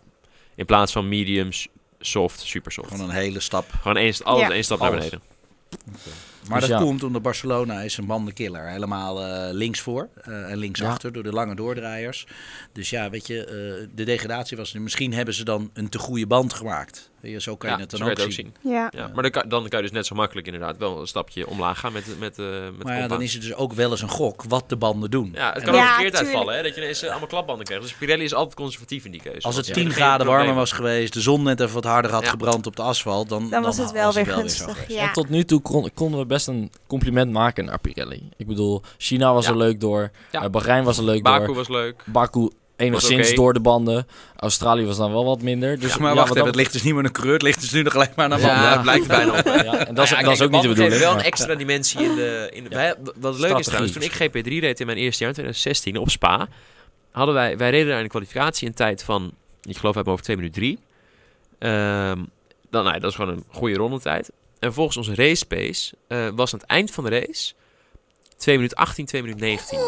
A: In plaats van medium, s- soft, supersoft.
B: Gewoon een hele stap.
A: Gewoon één, st- alles
D: Ja.
A: één stap naar
C: Alles.
A: beneden.
B: Maar
C: Dus
B: dat
C: ja.
B: komt omdat Barcelona is een bandenkiller. Helemaal eh, links voor eh, en links
C: Ja.
B: achter door de lange doordraaiers. Dus ja, weet je, eh, de degradatie was... Misschien hebben ze dan een te goede band gemaakt. Weet je, zo kan
A: Ja,
B: je het
A: zo
B: dan
A: kan je
B: ook, zien.
D: Ja.
A: Ja, maar dan kan, dan kan je dus net zo makkelijk inderdaad wel een stapje omlaag gaan met, met, eh met
B: Maar ja, dan
A: compound.
B: is het dus ook wel eens een gok wat de banden doen.
A: Ja, het
B: En
A: kan
D: Ja,
A: ook verkeerd
D: tuurlijk.
A: uitvallen, hè? Dat je ineens eh, allemaal klapbanden krijgt. Dus Pirelli is altijd conservatief in die keuze.
B: Als
A: Want
B: het 10
A: ze hebben geen
B: graden warmer
A: problemen.
B: was geweest, de zon net even wat harder had
A: Ja.
B: gebrand op de asfalt, dan,
D: Dan was het wel weer gunstig.
B: geweest.
D: Ja.
C: En tot nu toe kon- konden we best een compliment maken naar Pirelli. Ik bedoel, China was
A: Ja.
C: er leuk door.
A: Ja.
C: eh, Bahrein was er leuk
A: Baku
C: door.
A: was leuk.
C: Baku enigszins
A: oké.
C: door de banden. Australië was dan wel wat minder. Dus
B: Ja, maar
C: ja,
B: wacht even,
C: wat dat
B: het ligt dus niet meer een kleur, het ligt dus nu nog alleen maar naar
A: Ja,
B: banden.
A: het lijkt er bijna op.
C: betreft- Ja, en dat is,
A: Ah
C: dat is ook niet de bedoeling.
A: wel een
C: maar-
A: extra dimensie in de... In de
C: Ja.
A: wij- wat leuk is trouwens, toen ik
C: Strategie.
A: GP3 reed in mijn eerste jaar, in 2016, op Spa, hadden wij... Wij reden daar in de kwalificatie een tijd van, ik geloof uit mijn hoofd, 2 minuten 3. Ehm, dan, nou, ja, dat is gewoon een goede rondetijd. En volgens onze race pace eh, was aan het eind van de race 2 minuten 18, 2 minuten 19.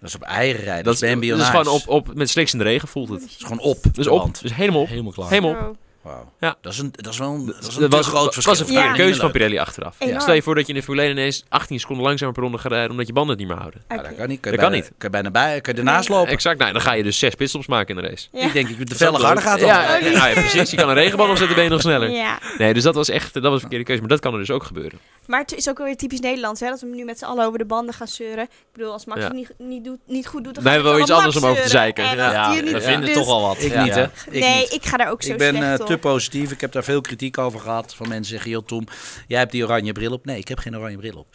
B: Dat is op eigen Dus rijden.
A: Dat
B: Dat is
A: is
B: MBO
A: gewoon op, op, met sliks in de regen voelt het.
B: gewoon op.
A: Dus
B: de
A: op,
B: band.
A: dus helemaal op.
C: Helemaal klaar.
A: Helemaal op.
D: Oh.
B: Wauw.
A: Ja.
B: Dat, is een, dat is wel een, dat is een
A: Dat
B: te
A: was,
B: groot
A: was
B: verschil.
A: een verkeerde
D: Ja.
A: keuze van Pirelli achteraf.
D: Enorm.
A: Stel je voor dat je in de Formule 1 ineens 18 seconden langzamer per ronde gaat rijden omdat je banden het niet meer houden.
B: Ja,
D: Oké.
B: dat kan niet. Kan je
A: Dat kan
B: bijna,
A: niet.
B: Kan je bijna bij, kan je ernaast lopen.
A: Exact, nou, dan ga je dus zes pitstops maken in de race.
D: Ja.
B: Ik denk dat je de
A: Dat is ook
B: velle harder
A: leuk.
B: gaat dan.
A: Ja, ja, nou ja, precies. Je kan een regenbal opzetten, ben je nog sneller.
D: Ja.
A: Nee, dus dat was echt dat was een verkeerde keuze. Maar dat kan er dus ook gebeuren.
D: Maar het is ook weer typisch Nederlands, hè? Dat we nu met z'n allen over de banden gaan zeuren. Ik bedoel, als Max
A: Ja.
D: het niet, niet, doet, niet goed doet, dan
A: Dan
D: gaan
A: hebben we
D: we
A: wel iets anders om over te zeiken. Ja.
D: Ja,
C: Ja, we vinden toch al wat.
B: Ik
A: Ja.
B: niet, hè?
C: Ja.
B: Ik
D: nee,
B: niet.
D: ik ga daar ook zo
B: Ik ben eh,
D: slecht
B: te
D: op.
B: positief. Ik heb daar veel kritiek over gehad. Van mensen zeggen, joh Tom, jij hebt die oranje bril op. Nee, ik heb geen oranje bril op.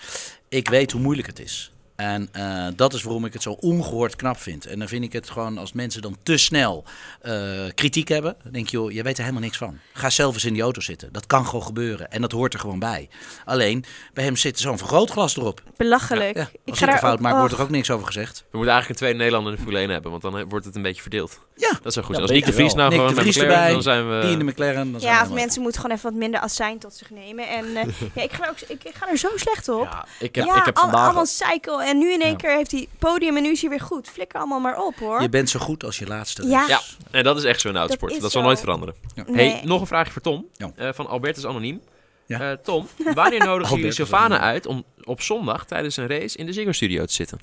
B: Ik weet hoe moeilijk het is. En eh, dat is waarom ik het zo ongehoord knap vind. En dan vind ik het gewoon als mensen dan te snel eh, kritiek hebben. Dan denk je, joh, je weet er helemaal niks van. Ga zelf eens in die auto zitten. Dat kan gewoon gebeuren. En dat hoort er gewoon bij. Alleen, bij hem zit zo'n vergrootglas erop.
D: Belachelijk.
B: Ja,
D: ik
B: als ik
D: ga daar
B: een fout
D: ook-
B: maak, wordt
D: oh.
B: er ook niks over gezegd.
A: We moeten eigenlijk een tweede Nederlander in de Formule 1 hebben, want dan eh, wordt het een beetje verdeeld.
B: Ja,
A: Dat zou goed zijn.
C: Ja,
A: Als Nick de
C: beter
A: Vries nou
B: Nick
A: gewoon
B: de
A: bij
B: Vries
A: McLaren,
B: erbij,
A: dan zijn we...
B: die in de McLaren. Dan zijn we
D: Ja, of
B: helemaal-
D: mensen moeten gewoon even wat minder azijn tot zich nemen. En eh, ja, ik, ga er ook, ik, ik ga er zo slecht op.
C: Ja, ik heb,
D: Ja,
C: ik heb
D: al-
C: vandaag...
D: allemaal cycle. En nu in één
C: Ja.
D: keer heeft hij podium en nu is hij weer goed. Flikker allemaal maar op, hoor.
B: Je bent zo goed als je laatste.
D: Ja.
A: Ja, en dat is echt zo'n autosport.
D: is
A: Dat, zal
D: zo.
A: nooit veranderen.
D: Nee.
A: Hey, nog een vraagje voor Tom,
B: Ja.
A: eh, van Albertus Anoniem.
B: Ja.
A: Eh, Tom, wanneer nodigen jullie
B: Albertus
A: Sylvana
B: Anoniem.
A: uit om op zondag tijdens een race in de Ziggo Studio te zitten?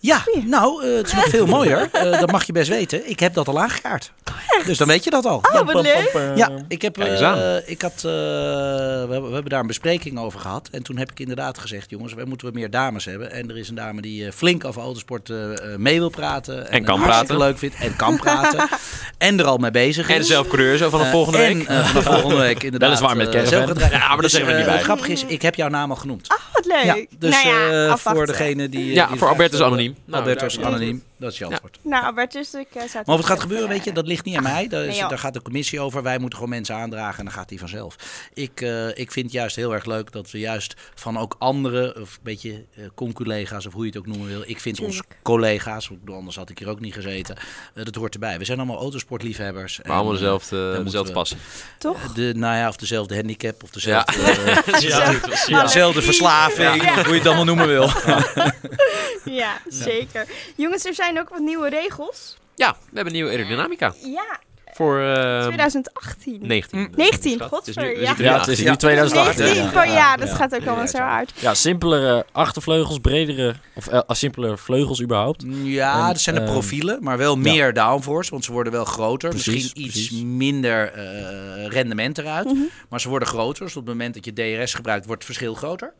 B: Ja, nou, eh, het is nog veel mooier. Eh, dat mag je best weten. Ik heb dat al aangekaart. Dus dan weet je dat al.
D: Oh, wat leuk.
B: Ja, ik heb,
A: Kijk eens
B: eh,
A: aan.
B: ik had, eh, we, hebben, we hebben daar een bespreking over gehad. En toen heb ik inderdaad gezegd, jongens, wij moeten wat meer dames hebben. En er is een dame die eh, flink over autosport eh, eh, mee wil praten.
A: En kan
B: het hartstikke
A: praten.
B: leuk vindt. En kan praten. en er al mee bezig is.
A: En zelf coureur zo van de
B: Eh,
A: volgende
B: en,
A: week.
B: eh, vanaf volgende week inderdaad.
C: Weliswaar met
B: eh,
C: caravan.
B: zelf gedraaid.
A: Ja, maar dat
B: Dus,
A: zeggen we niet
B: eh,
A: bij.
B: Het grappige is, ik heb jouw naam al genoemd.
D: Ah, wat leuk.
B: Ja, dus
D: nou ja,
B: eh, voor
D: afwachten.
B: degene die...
A: Ja,
B: eh, die
A: voor
B: vraag
A: Albertus
B: stelde,
A: Anoniem. Nou,
B: Albertus
A: daar-
B: Anoniem, dat is je antwoord.
D: Nou, Albertus, ik eh, zou het
B: Maar of het gaat
D: wel
B: gebeuren, weet je, dat ligt niet aan mij. Daar, is-
D: Nee, joh.
B: daar gaat de commissie over. Wij moeten gewoon mensen aandragen en dan gaat die vanzelf. Ik, eh, ik vind juist heel erg leuk dat we juist van ook andere, of een beetje eh conculega's of hoe je het ook noemen wil. Ik vind ons
D: Tuurlijk.
B: collega's, want anders had ik hier ook niet gezeten. eh, dat hoort erbij. We zijn allemaal autosportliefhebbers.
A: Maar allemaal
B: En,
A: dezelfde,
B: moeten
A: dezelfde
B: we-
A: passie.
D: Toch?
B: eh, De, nou ja, of dezelfde handicap of dezelfde, eh,
C: Ja, ja.
B: dezelfde verslaving,
D: Ja.
B: of hoe je het allemaal noemen wil.
D: Ja, zeker. Jongens, er zijn ook wat nieuwe regels.
A: Ja, we hebben een nieuwe aerodynamica.
D: Ja,
A: Voor eh,
B: Ehm,
D: 2018.
A: 19.
D: 19,
A: Schat, het is dus nu-
D: godver,
A: we
D: ja.
A: zitten nu
C: Ja, het is
A: 18.
C: nu 2008.
D: 19,
B: ja.
D: ja, ja, dat
B: Ja.
D: gaat ook allemaal
B: Ja,
D: zo
B: ja.
D: hard.
C: Ja, simpelere achtervleugels, bredere... Of eh, simpelere vleugels überhaupt.
B: Ja,
C: En,
B: dat zijn de
C: ehm,
B: profielen, maar wel meer downforce, want ze worden wel groter.
C: Precies,
B: Misschien iets
C: precies.
B: minder eh, rendement eruit,
D: Mhm.
B: maar ze worden groter. Dus op het moment dat je DRS gebruikt, wordt het verschil groter.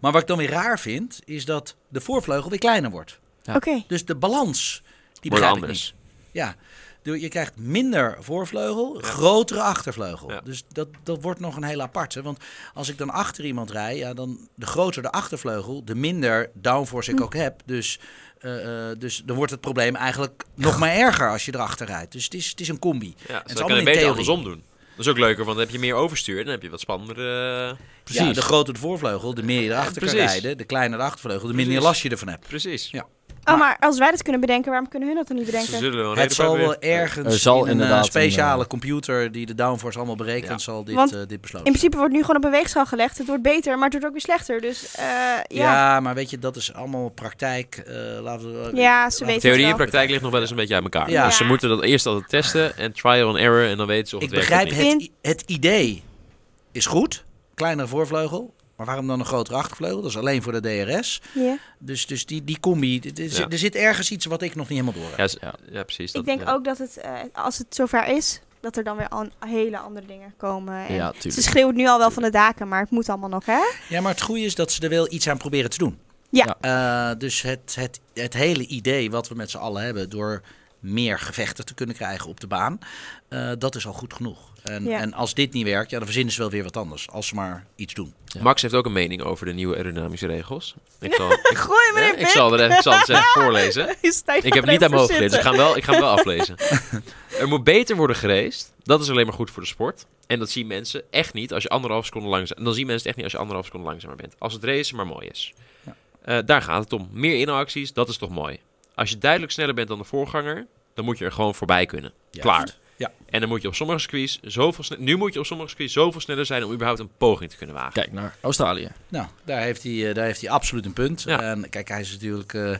B: Maar wat ik dan weer raar vind, is dat de voorvleugel weer kleiner wordt.
C: Ja.
D: Oké. oh,
B: Dus de balans, die
A: Wordt
B: begrijp ik
A: anders.
B: niet. Ja, de- je krijgt minder voorvleugel, grotere achtervleugel.
A: Ja.
B: Dus dat, dat wordt nog een hele aparte. Want als ik dan achter iemand rij, ja, dan de groter de achtervleugel, de minder downforce
C: Hm.
B: ik ook heb. Dus, eh, eh, dus dan wordt het probleem eigenlijk nog maar erger als je erachter rijdt. Dus het is, het is een combi.
A: Ja,
B: is
A: dus dan
B: allemaal
A: kan je
B: in
A: beter
B: theorie.
A: andersom doen. Dat is ook leuker, want dan heb je meer overstuur en dan heb je wat spannendere... eh,
B: Ja, de groter de voorvleugel, de meer je erachter kan
A: precies.
B: rijden. De kleiner de achtervleugel, de minder
A: Precies.
B: last je ervan hebt.
A: Precies.
B: Ja,
D: Oh, maar als wij dat kunnen bedenken, waarom kunnen hun dat dan niet
A: Ze
D: bedenken?
A: zullen wel een
B: Het
A: reden voor
B: zal wel
A: hebben.
B: ergens
C: Er zal
B: in een eh,
C: inderdaad een,
B: speciale computer die de downforce allemaal berekent,
A: Ja.
B: zal dit,
D: Want
B: eh, dit besloten
D: In principe wordt nu gewoon op een weegschaal gelegd. Het wordt beter, maar het wordt ook weer slechter. Dus eh, ja.
B: Ja. maar weet je, dat is allemaal praktijk. eh, laten we,
D: Ja, ze weten
A: Theorie en
D: het wel.
A: praktijk ligt nog wel eens een beetje uit elkaar.
B: Ja.
A: Dus ze
D: Ja.
A: moeten dat eerst altijd testen en trial and error en dan weten ze of
B: Ik
A: het
B: begrijp
A: werkt
B: het,
A: of
D: niet.
B: i- het idee is goed. Kleinere voorvleugel. Maar waarom dan een grotere achtervleugel? Dat is alleen voor de DRS.
D: Ja.
B: Dus, dus die, die combi, dit- dit- er,
A: Ja.
B: zit, ergens iets wat ik nog niet helemaal door heb.
A: niet. Ja, ze- ja. precies.
D: Ik
A: dat-
D: denk
A: ja.
D: ook dat het, eh, als het zover is, dat er dan weer al hele andere dingen komen. En
C: Ja,
D: ze
C: tuurlijk.
D: schreeuwt nu al wel van de daken, maar het moet allemaal nog, hè?
B: Ja, maar het goede is dat ze er wel iets aan proberen te doen.
D: Ja.
B: Eh, dus het, het, het hele idee wat we met z'n allen hebben door meer gevechten te kunnen krijgen op de baan, eh, dat is al goed genoeg. En,
D: Ja.
B: en als dit niet werkt, ja, dan verzinnen ze wel weer wat anders. Als ze maar iets doen.
C: Ja.
A: Max heeft ook een mening over de nieuwe aerodynamische regels. Ik zal, ik,
D: Gooi me
A: hè,
D: in,
A: ik zal, er even, ik zal het eens even voorlezen. Ik heb het niet aan mijn hoofd gelezen. dus Ik ga, hem wel, ik ga hem wel aflezen. Er moet beter worden geraced. Dat is alleen maar goed voor de sport. En dat zien mensen echt niet als je anderhalf seconde langzaam... Dan zien mensen het echt niet als je anderhalf seconde langzamer bent. Als het racen maar mooi is.
B: Ja.
A: Eh, daar gaat het om. Meer inacties, dat is toch mooi. Als je duidelijk sneller bent dan de voorganger... dan moet je er gewoon voorbij kunnen. Klaar.
B: Ja.
A: En dan moet je op sommige circuits zoveel sne- nu moet je op sommige circuits zoveel sneller zijn om überhaupt een poging te kunnen wagen.
C: Kijk naar Australië.
B: Nou, daar heeft hij, eh, daar heeft hij absoluut een punt.
A: Ja.
B: En kijk, hij is natuurlijk eh, eh,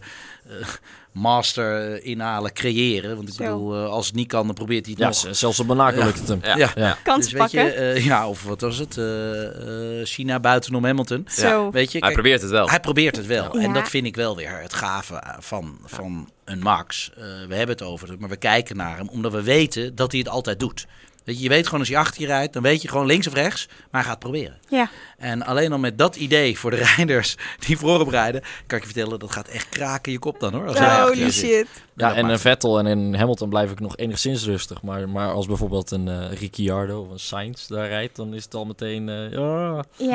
B: master eh, inhalen, creëren. Want ik
D: Zo.
B: bedoel, eh, als het niet kan, dan probeert hij het
C: Ja,
B: nog.
C: z- zelfs op Monaco
B: Ja.
C: lukt het hem.
A: Ja.
C: Ja.
D: Kans
B: Dus weet
D: pakken.
B: je, eh, ja, of wat was het? Eh, eh, China buitenom Hamilton.
D: Zo.
B: Weet je,
A: Hij
B: kijk,
A: probeert het wel.
B: hij probeert het wel.
D: Ja.
B: En dat vind ik wel weer het gave eh, van, van een Max. Eh, we hebben het over het, maar we kijken naar hem omdat we weten dat hij het altijd doet. Weet je, je weet gewoon als hij achter je rijdt, dan weet je gewoon links of rechts, maar hij gaat het proberen.
D: Ja.
B: En alleen al met dat idee voor de rijders die voorop rijden, kan ik je vertellen, dat gaat echt kraken je kop dan hoor. Als hij achter je
D: Holy
B: zit.
D: shit.
C: Ja,
B: Dat
C: en
B: maakt-
C: een Vettel en in Hamilton blijf ik nog enigszins rustig. Maar, maar als bijvoorbeeld een eh, Ricciardo of een Sainz daar rijdt, dan is het al meteen... eh, ja.
D: Ja,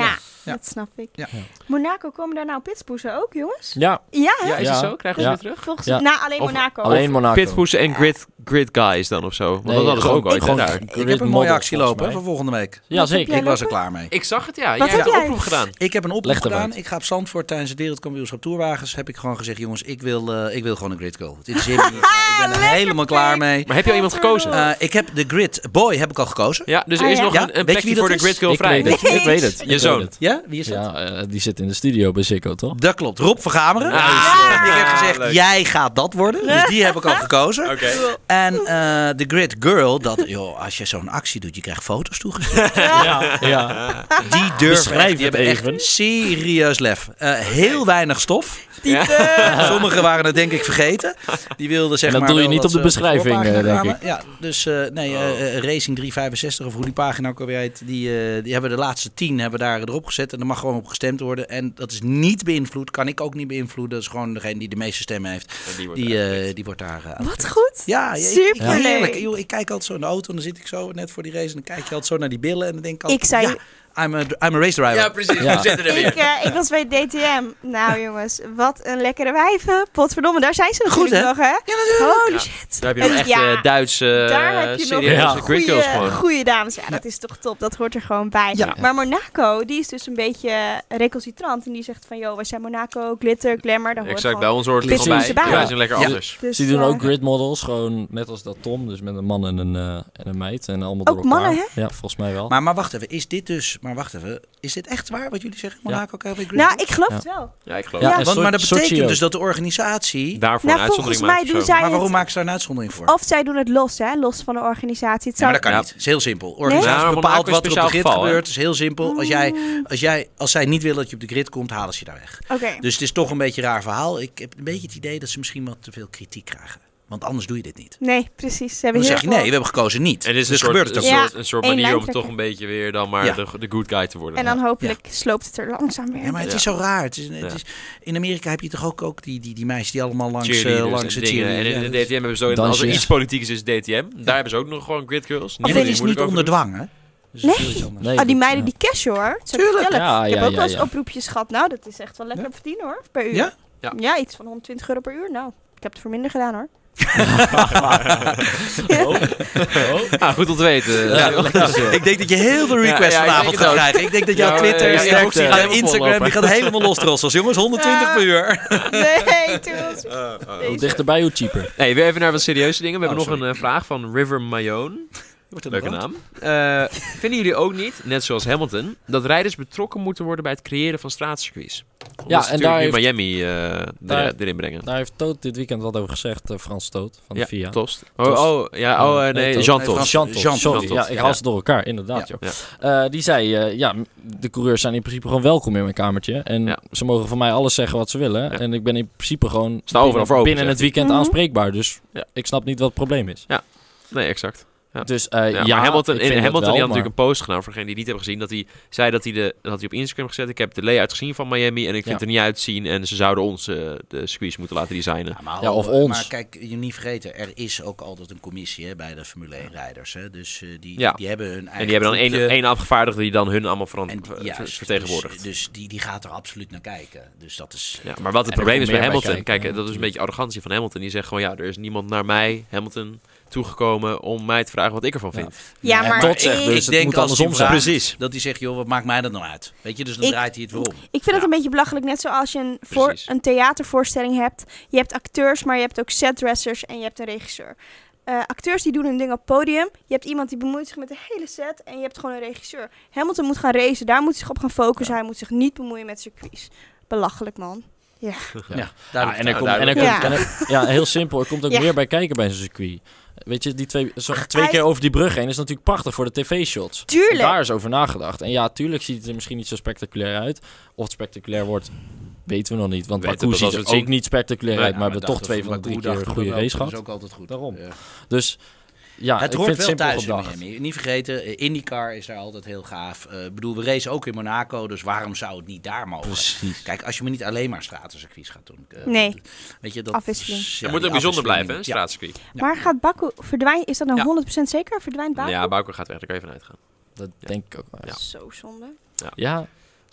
B: Ja.
D: dat snap ik.
B: Ja.
C: Ja.
D: Monaco komen daar nou pitspoezen ook, jongens?
C: ja,
D: Ja, hè?
A: Ja, is
C: Ja.
A: het zo? Krijgen we
C: Ja.
A: ze weer terug?
D: Volgens
C: Ja.
D: Nou, alleen
A: Of-
D: Monaco.
C: alleen Monaco.
A: Pitpoesen en grid, grid guys dan of zo. Want dat hadden ze ook ooit. hè, daar.
B: Ik heb een mooie actie lopen hè, voor volgende week.
C: Ja, zeker.
D: Jij
B: Ik was er
D: lopen?
B: klaar mee.
A: Ik zag het, ja.
D: Wat
A: jij
D: heb
A: hebt een
D: jij?
A: oproep gedaan.
B: Ik heb een oproep
C: Leg dat
B: gedaan.
C: uit.
B: Ik ga op Zandvoort tijdens het wereldkampioenschap Tourwagens. Heb ik gewoon gezegd, jongens, ik wil, eh, ik wil gewoon een grid goal. Dit is helemaal niet. Ik ben er helemaal klaar mee.
A: Maar heb je al iemand gekozen?
B: Eh, ik heb de grid boy heb ik al gekozen.
A: ja, dus er
D: Ah,
A: is
D: ja.
A: nog
B: Ja,
A: een, een
B: weet je
A: plekje
B: wie
A: voor de
B: dat
A: grid
B: is?
A: girl
C: Ik
A: vrij.
C: weet het, ik weet het.
A: Je zoon.
B: Ja, wie is dat?
C: Ja, eh, die zit in de studio bij Ziggo, toch?
B: Dat klopt. Rob van Gameren.
A: Ah,
B: Ik heb gezegd,
A: leuk.
B: jij gaat dat worden. Dus die heb ik al gekozen.
A: Oké.
B: En eh, de Grid Girl, dat, joh, als je zo'n actie doet, je krijgt foto's toegestuurd.
C: Ja, ja.
B: Die durven
C: Beschrijf
B: echt, die
C: het
B: hebben echt
C: even.
B: serieus lef. Eh, heel weinig stof. Sommigen waren het denk ik vergeten. Die wilden zeg
C: En dat
B: maar
C: doe je
B: wel
C: niet
B: dat
C: op de
B: ze de
C: beschrijving,
B: voorpagina
C: eh, denk Oh.
B: kwamen. Ja, dus eh, nee, eh, eh, Racing 365 of hoe die pagina ook alweer heet, die, eh, die hebben de laatste tien hebben we daar erop gezet. En er mag gewoon op gestemd worden. En dat is niet beïnvloed, kan ik ook niet beïnvloeden. Dat is gewoon degene die de meeste stemmen heeft.
A: Die wordt
B: Die,
A: er.
B: eh, die wordt daar eh, aan.
D: Wat goed.
B: Ja, ja, ik-
D: Superleuk.
B: heerlijk. Joh, ik kijk altijd zo in de auto en dan zit ik zo net voor die race en dan kijk je altijd zo naar die billen en dan denk ik altijd,
D: Ik zei-
B: ja, I'm a, I'm a race driver.
A: Ja, precies.
C: Ja.
A: We zitten er
D: Ik,
A: weer.
D: eh, ik was bij DTM. Nou jongens, wat een lekkere wijven. Potverdomme, daar zijn ze natuurlijk
B: hè?
D: nog hè? Ja,
B: Oh.
D: Holy shit.
A: Daar heb je nog
D: En
A: echt
D: ja,
A: eh, Duitse,
D: daar
A: eh,
D: heb je nog
A: serieuze
C: Ja.
A: grid girls gewoon.
D: goede dames. Ja, dat is toch top. Dat hoort er gewoon bij.
B: Ja.
D: Maar Monaco, die is dus een beetje recalcitrant. En die zegt van, joh, wij zijn Monaco, glitter, glamour. Daar hoort
A: Exact,
D: gewoon.
A: bij ons hoort het
D: Precies.
A: gewoon bij.
D: Ja.
A: Wij zijn lekker
B: Ja.
A: anders.
D: Dus,
C: Ze doen
D: eh,
C: ook grid models, gewoon net als dat Tom, dus met een man en een, eh, en een meid en allemaal door
D: Ook
C: elkaar.
D: mannen,
C: Ja, volgens mij wel.
B: Maar, maar wacht even, is dit dus... Maar wacht even, is dit echt waar wat jullie zeggen? Monaco KW Grid?
D: Nou, ik geloof
C: Ja.
D: het wel.
A: Ja, ik geloof
C: Ja,
A: het.
C: en
B: Want, maar dat
C: Sochi-
B: betekent
C: Sochi ook.
B: dus dat de organisatie...
A: Daarvoor
D: Nou,
A: een
D: volgens
A: uitzondering
D: mij
A: maken.
D: doen
A: of zo.
D: zij
B: maar waarom
D: het...
B: maken ze daar een uitzondering voor?
D: Of zij doen het los, hè? Los van de organisatie. Het
B: Ja,
D: zou
B: maar dat kan
A: Ja.
B: niet. Het is heel simpel. Organisatie
A: Ja, maar Monaco
B: bepaalt
A: is
B: wat er op de
A: speciaal
B: grid
A: geval, hè?
B: gebeurt. Het is heel simpel. Als, jij,
D: Mm.
B: als, jij, als zij niet willen dat je op de grid komt, halen ze je daar weg.
D: Oké.
B: Dus het is toch een beetje een raar verhaal. Ik heb een beetje het idee dat ze misschien wat te veel kritiek krijgen. Want anders doe je dit niet.
D: Nee, precies. Ze hebben
B: Dan
D: heel
B: zeg je,
D: veel-
B: nee, we hebben gekozen niet.
A: En dit is
B: dus
A: een soort,
B: gebeurt het
A: een
B: ook
D: Ja.
B: niet.
A: soort, een soort
D: één
A: manier om
D: lijntrekker.
A: toch een beetje weer dan maar
B: Ja.
A: de, de good guy te worden.
D: En dan hopelijk sloopt het er langzaam weer.
B: Ja, maar het
A: Ja.
B: is zo raar. Het is, het
A: Ja.
B: is, in Amerika heb je toch ook, ook die, die, die meisjes die allemaal langs, eh,
A: Cheerleaders en
B: langs de
A: dingen. En
B: cheerleaders-
A: in
B: ja,
A: de
B: dat-
A: DTM hebben ze zo,
C: Dansjes.
A: als er iets politiek is, is DTM. Daar hebben ze ook nog gewoon grid girls.
B: En
A: moet
B: dat
A: je
B: is
A: moeilijk
B: niet
A: over
B: onder
A: doen.
B: dwang, hè? Dus dat is heel iets anders.
C: Nee,
D: Oh, die
C: dat-
D: meiden
C: ja.
D: die cashen hoor. Zou ik je
B: Tuurlijk.
D: vertellen?
C: Ja,
D: ik heb
C: ja,
D: ook
C: ja,
D: wel eens
C: ja.
D: oproepjes gehad. Nou, dat is echt wel lekker
B: Ja?
D: verdienen hoor. Per uur.
B: Ja?
A: Ja.
D: iets van 120 euro per uur. Nou, ik heb het voor minder gedaan hoor.
A: Ah, goed om te weten.
C: Ja,
A: Ja,
C: lekker zo.
B: Ik denk dat je heel veel
A: Ja, ja, ik
B: requests
A: denk
B: vanavond
A: het
B: gaat
A: ook.
B: krijgen. Ik denk dat jouw
A: Ja, eh,
B: Twitter,
A: ja, ja,
B: jouw
A: sterkte.
B: Instagram,
A: Helemaal
B: Instagram, die
A: vollopen.
B: gaat helemaal los trossels. Jongens, 120 per uur.
D: Nee, Toels.
B: Eh,
C: Hoe dichterbij, hoe cheaper.
A: Hey, weer even naar wat serieuze dingen. We
B: Oh,
A: hebben nog
B: sorry.
A: een eh, vraag van River Mayone. Leuke naam. Eh, vinden jullie ook niet, net zoals Hamilton, dat rijders betrokken moeten worden bij het creëren van straatcircuits?
C: Ja,
A: Ja, en
C: en daar
A: daar nu
C: heeft-
A: Miami eh, er-
C: daar- Nou,
A: erin brengen.
C: Daar heeft Toot dit weekend wat over gezegd, eh, Frans Toot van de
A: ja,
C: VIA.
A: Tost.
C: Tost.
A: Oh, oh, ja, oh, eh,
C: Eh,
A: nee,
C: Tost.
A: Jean
B: Nee,
A: Tost.
B: Frans-
C: Jean Todt,
B: Jean
C: sorry.
A: Todt,
C: Ja, ik
A: ja.
C: haal ze door elkaar, inderdaad.
B: Ja.
C: joh. Eh, die zei, eh, ja, m- de coureurs zijn in principe gewoon welkom in mijn kamertje. En
A: Ja.
C: ze mogen van mij alles zeggen wat ze willen. En ik ben in principe gewoon
A: Sta overal
C: binnen,
A: voor open,
C: binnen het
A: zegt
C: weekend
D: Mhm.
C: aanspreekbaar. Dus
A: Ja.
C: ik snap niet wat het probleem is.
A: Nee, exact. Ja.
C: Dus eh,
A: Ja,
C: ja,
A: maar Hamilton,
C: ik
A: in
C: vind het
A: Hamilton die
C: wel,
A: had
C: maar-
A: natuurlijk een post gedaan voor degenen die het niet hebben gezien. Dat hij zei dat hij, de, dat hij op Instagram gezet. Ik heb de layout gezien van Miami en ik vind
C: Ja.
A: het er niet uitzien. En ze zouden ons eh, de circuits moeten laten designen.
B: maar,
C: Ja, of
B: hallo,
C: ons.
B: Maar kijk, je moet niet vergeten, er is ook altijd een commissie hè, bij de Formule 1 rijders. Hè. Dus eh, die,
A: Ja.
B: die hebben hun eigen
A: en die hebben dan
B: groepje.
A: één, één afgevaardigde die dan hun allemaal verant-
B: En
A: ver-
B: die- juist,
A: vertegenwoordigt.
B: Dus, dus die, die gaat er absoluut naar kijken. Dus dat is...
A: Ja, maar wat het
C: En
A: probleem
C: er
A: is
C: komt
A: bij
C: meer bij
A: Hamilton,
C: kijken,
A: kijk,
C: ja,
A: eh, dat is een
C: natuurlijk.
A: beetje arrogantie van Hamilton. Die zegt gewoon, ja, er is niemand naar mij, Hamilton, toegekomen om mij te vragen wat ik ervan
C: Ja.
A: vind.
D: Ja,
B: Nee,
D: maar
C: Todt zegt
D: ik,
C: dus- het moet
B: als die
C: andersom zijn.
B: vraagt,
A: Precies.
B: Dat hij zegt, joh, wat maakt mij dat nou uit? Weet je, dus dan
D: Ik-
B: draait hij het weer om.
D: ik vind het
A: Ja.
D: een beetje belachelijk. Net zoals je een, voor,
A: Precies.
D: een theatervoorstelling hebt. Je hebt acteurs, maar je hebt ook setdressers en je hebt een regisseur. Eh, eh, acteurs die doen hun ding op het podium. Je hebt iemand die bemoeit zich met de hele set. En je hebt gewoon een regisseur. Hamilton moet gaan racen. Daar moet hij zich op gaan focussen. Hij moet zich niet bemoeien met circuits. Belachelijk, man.
A: Ja, en er
B: duidelijk.
A: komt- en er
D: komt- Ja.
C: En er- Nou, ja, heel simpel. Er komt ook
D: Ja.
C: meer bij kijken bij zo'n circuit. Weet je, die twee, zo- twee
D: hij-
C: keer over die brug heen is natuurlijk prachtig voor de tv-shots.
D: Tuurlijk.
C: Daar is over nagedacht. En ja, tuurlijk ziet het er misschien niet zo spectaculair uit. Of het spectaculair wordt, weten we nog niet. Want
A: Weten we
C: Baku
A: pas
C: ziet
A: als
C: er
A: we
C: ook
A: het zien.
C: niet spectaculair
A: Nee,
C: uit. Maar we
B: dat
C: hebben toch
B: dachten we
C: twee van de
B: Baku,
C: drie
B: dachten
C: keer
B: we
C: goede
B: wel,
C: race
B: Dat is
C: gehad.
B: ook altijd goed.
C: Daarom.
B: Ja.
C: Dus ja,
B: het
C: ik vind
B: hoort
C: het
B: wel
C: simpel
B: thuis in
C: gedacht.
B: Miami. Niet vergeten, eh, IndyCar is daar altijd heel gaaf. Eh, Ik bedoel, we racen ook in Monaco, dus waarom zou het niet daar mogen?
C: Precies.
B: Kijk, als je maar niet alleen maar stratencircuits gaat doen. eh,
D: Nee.
B: Weet je, dat
D: Afwisseling.
B: Ja,
A: het moet
B: die
A: ook bijzonder
B: afwisseling
A: blijven, hè,
B: moet- ja.
A: straatcircuit.
B: Ja.
D: Maar gaat Baku verdwijnen? Is dat nou
A: Ja.
D: 100% zeker? Verdwijnt Baku?
A: Ja, Bouker gaat weg, daar kan je van uitgaan.
C: Dat
A: Ja.
C: denk ik ook wel.
A: Ja.
D: Zo zonde.
C: Ja, Ah.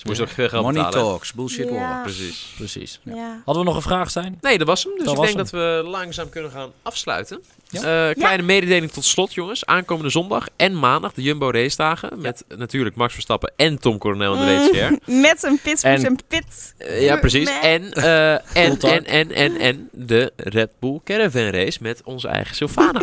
A: Ze moesten ook veel geld
B: Money
A: betalen. hè.
B: talks, bullshit
D: Ja.
B: war.
A: Precies.
C: precies.
D: Ja.
C: Hadden we nog een vraag, zijn?
A: Nee, dat was hem. Dus
C: Dat
A: ik
C: was
A: denk dat we langzaam kunnen gaan afsluiten.
C: Ja.
A: Eh, kleine mededeling tot slot, jongens. Aankomende zondag en maandag de Jumbo race dagen. Met natuurlijk Max Verstappen en Tom Coronel in de
D: Mm,
A: race chair.
D: Met een pit voor
C: En-
D: zijn pit.
A: Eh, ja, precies.
D: Nee.
A: En, eh, en,
C: Coulthard.
A: en, en, en, en de Red Bull Caravan Race met onze eigen Sylvana.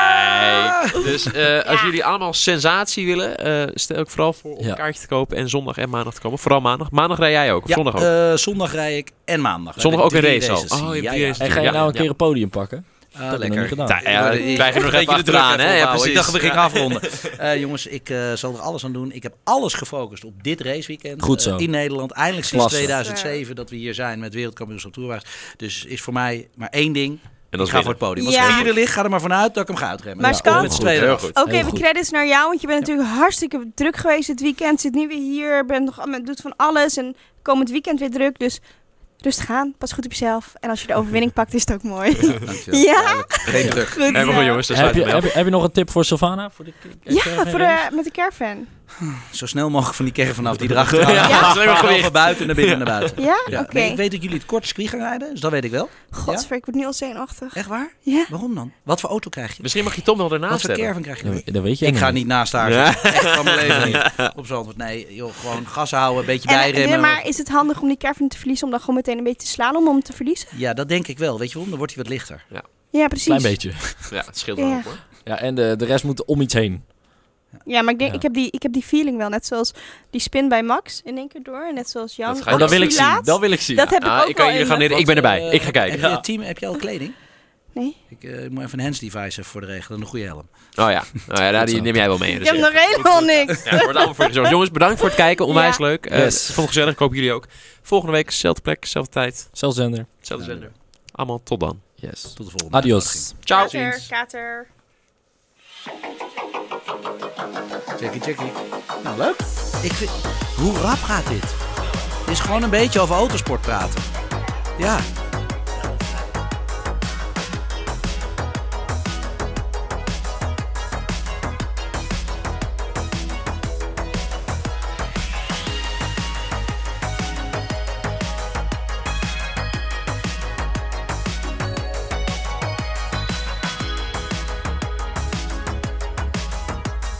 A: Kijk, dus eh, als
D: Ah. Ja.
A: jullie allemaal sensatie willen, eh, stel ik vooral voor om
C: Ja.
A: een kaartje te kopen en zondag en maandag te komen. Vooral maandag. Maandag rij jij ook, of
B: Ja,
A: zondag ook.
B: eh, zondag rij ik en maandag. We
A: Zondag
B: hebben
A: ook een
B: drie
A: race al.
B: races.
A: Oh, je hebt
B: Ja,
A: drie
B: ja.
A: races.
C: En ga je
A: Ja,
C: nou een
A: ja.
C: keer een podium pakken?
B: Ah,
C: Dat heb ik nog niet
B: lekker.
C: gedaan.
A: Nou, Ja, ja,
B: Ja,
A: dan krijg je er nog
B: Beetje
A: even
B: de druk
A: achteraan, hè? Ja,
B: even opbouwen.
A: precies.
B: Ik dacht, we gingen afronden. Eh, jongens, ik eh, zal er alles aan doen. Ik heb alles gefocust op dit raceweekend.
C: Goed zo.
B: Eh, in Nederland. Eindelijk sinds
C: Klasse.
B: 2007 dat we hier zijn met wereldkampioenschap Tourwaars. Dus is voor mij maar één ding.
A: En
B: Ik
A: dat
B: ga
A: is
B: voor
A: winnen.
B: het podium. Als
D: Ja.
B: het vierde ligt, ga er maar vanuit dat ik hem ga uitremmen.
D: Maar
B: Ja,
D: Scan?
B: met z'n tweeën
A: Heel
B: eraf.
A: goed.
D: Ook
C: Heel
D: even
C: goed.
D: credits naar jou, want je bent natuurlijk hartstikke druk geweest dit weekend. Zit nu weer hier, bent nog, men doet van alles en komend weekend weer druk. Dus rustig aan, pas goed op jezelf. En als je de overwinning pakt, is het ook mooi.
B: Dankjewel.
D: ja,
B: Geen druk.
D: goed.
A: En
D: zo.
A: goed, jongens, daar
C: Heb
A: sluiten
C: je,
A: we mee
C: heb,
A: af.
C: je- heb je nog een tip voor Sylvana? Voor de
D: Ja, voor, eh, met de caravan.
B: Zo snel mogelijk van die kerf vanaf die erachter hangt.
A: Ja,
D: dat
A: is helemaal
B: Gewoon
A: gewicht.
B: van buiten naar binnen naar buiten.
D: Ja?
B: Ja.
D: Oké.
B: Nee, ik weet dat jullie het korte circuit gaan rijden, dus dat weet ik wel.
D: Godver, ik word nu al zenuwachtig.
B: Echt waar?
D: Ja.
B: Waarom dan? Wat voor auto krijg je?
A: Misschien mag je Tom wel
B: Wat
A: daarnaast
B: voor
A: hebben.
B: caravan krijg je?
C: Dat, dat weet je
B: Ik ga
C: helemaal
B: niet naast haar
A: Ja.
B: zitten. Echt van mijn leven niet. Op zo'n antwoord. Nee, joh, gewoon gas houden, een beetje
D: En,
B: bijremmen.
D: nee, maar is het handig om die caravan te verliezen, om dan gewoon meteen een beetje te slaan om hem te verliezen?
B: Ja, dat denk ik wel. Weet je waarom? Dan wordt hij wat lichter.
D: Ja, precies.
C: Klein beetje.
A: Ja, het scheelt wel
D: Ja.
A: hoop, hoor.
C: Ja, en de, de rest moet om iets heen.
D: Ja, maar ik, denk,
C: Ja.
D: Ik, heb die, ik heb die feeling wel. Net zoals die spin bij Max in één keer door. Net zoals Jan.
A: Dat ga je Oh, dat
D: Ook
A: wil
D: die
A: ik
D: laatst.
C: Dat wil ik zien.
D: Dat heb ik
A: Ah,
D: ook
A: ik kan
D: wel
A: jullie
D: in
A: gaan
D: me.
A: dit- ik ben erbij.
B: Eh,
A: Ik ga kijken.
B: Heb je,
C: Ja.
B: team, heb je al kleding?
D: Nee.
B: Ik eh, moet even een hands device even voor de regelen. Een goede helm.
A: Oh ja, oh, ja nou, die neem jij wel mee.
D: Ik
A: Dus
D: heb nog helemaal niks.
A: Ja, het wordt allemaal voor je gezorgd. Jongens, bedankt voor het kijken. Onwijs
D: Ja.
A: leuk. Eh
C: Yes.
A: Vond het gezellig. Ik hoop jullie ook. Volgende week, zelfde plek, zelfde tijd,
C: Zelfzender.
A: zelfde
B: Ja.
A: zender. Allemaal tot dan.
C: Yes.
B: Tot de volgende.
C: Adios.
A: Ciao.
D: Kater, kater.
B: Checkie, checkie. Nou, leuk. Ik vind, hoe rap gaat dit? Het is gewoon een beetje over autosport praten. Ja.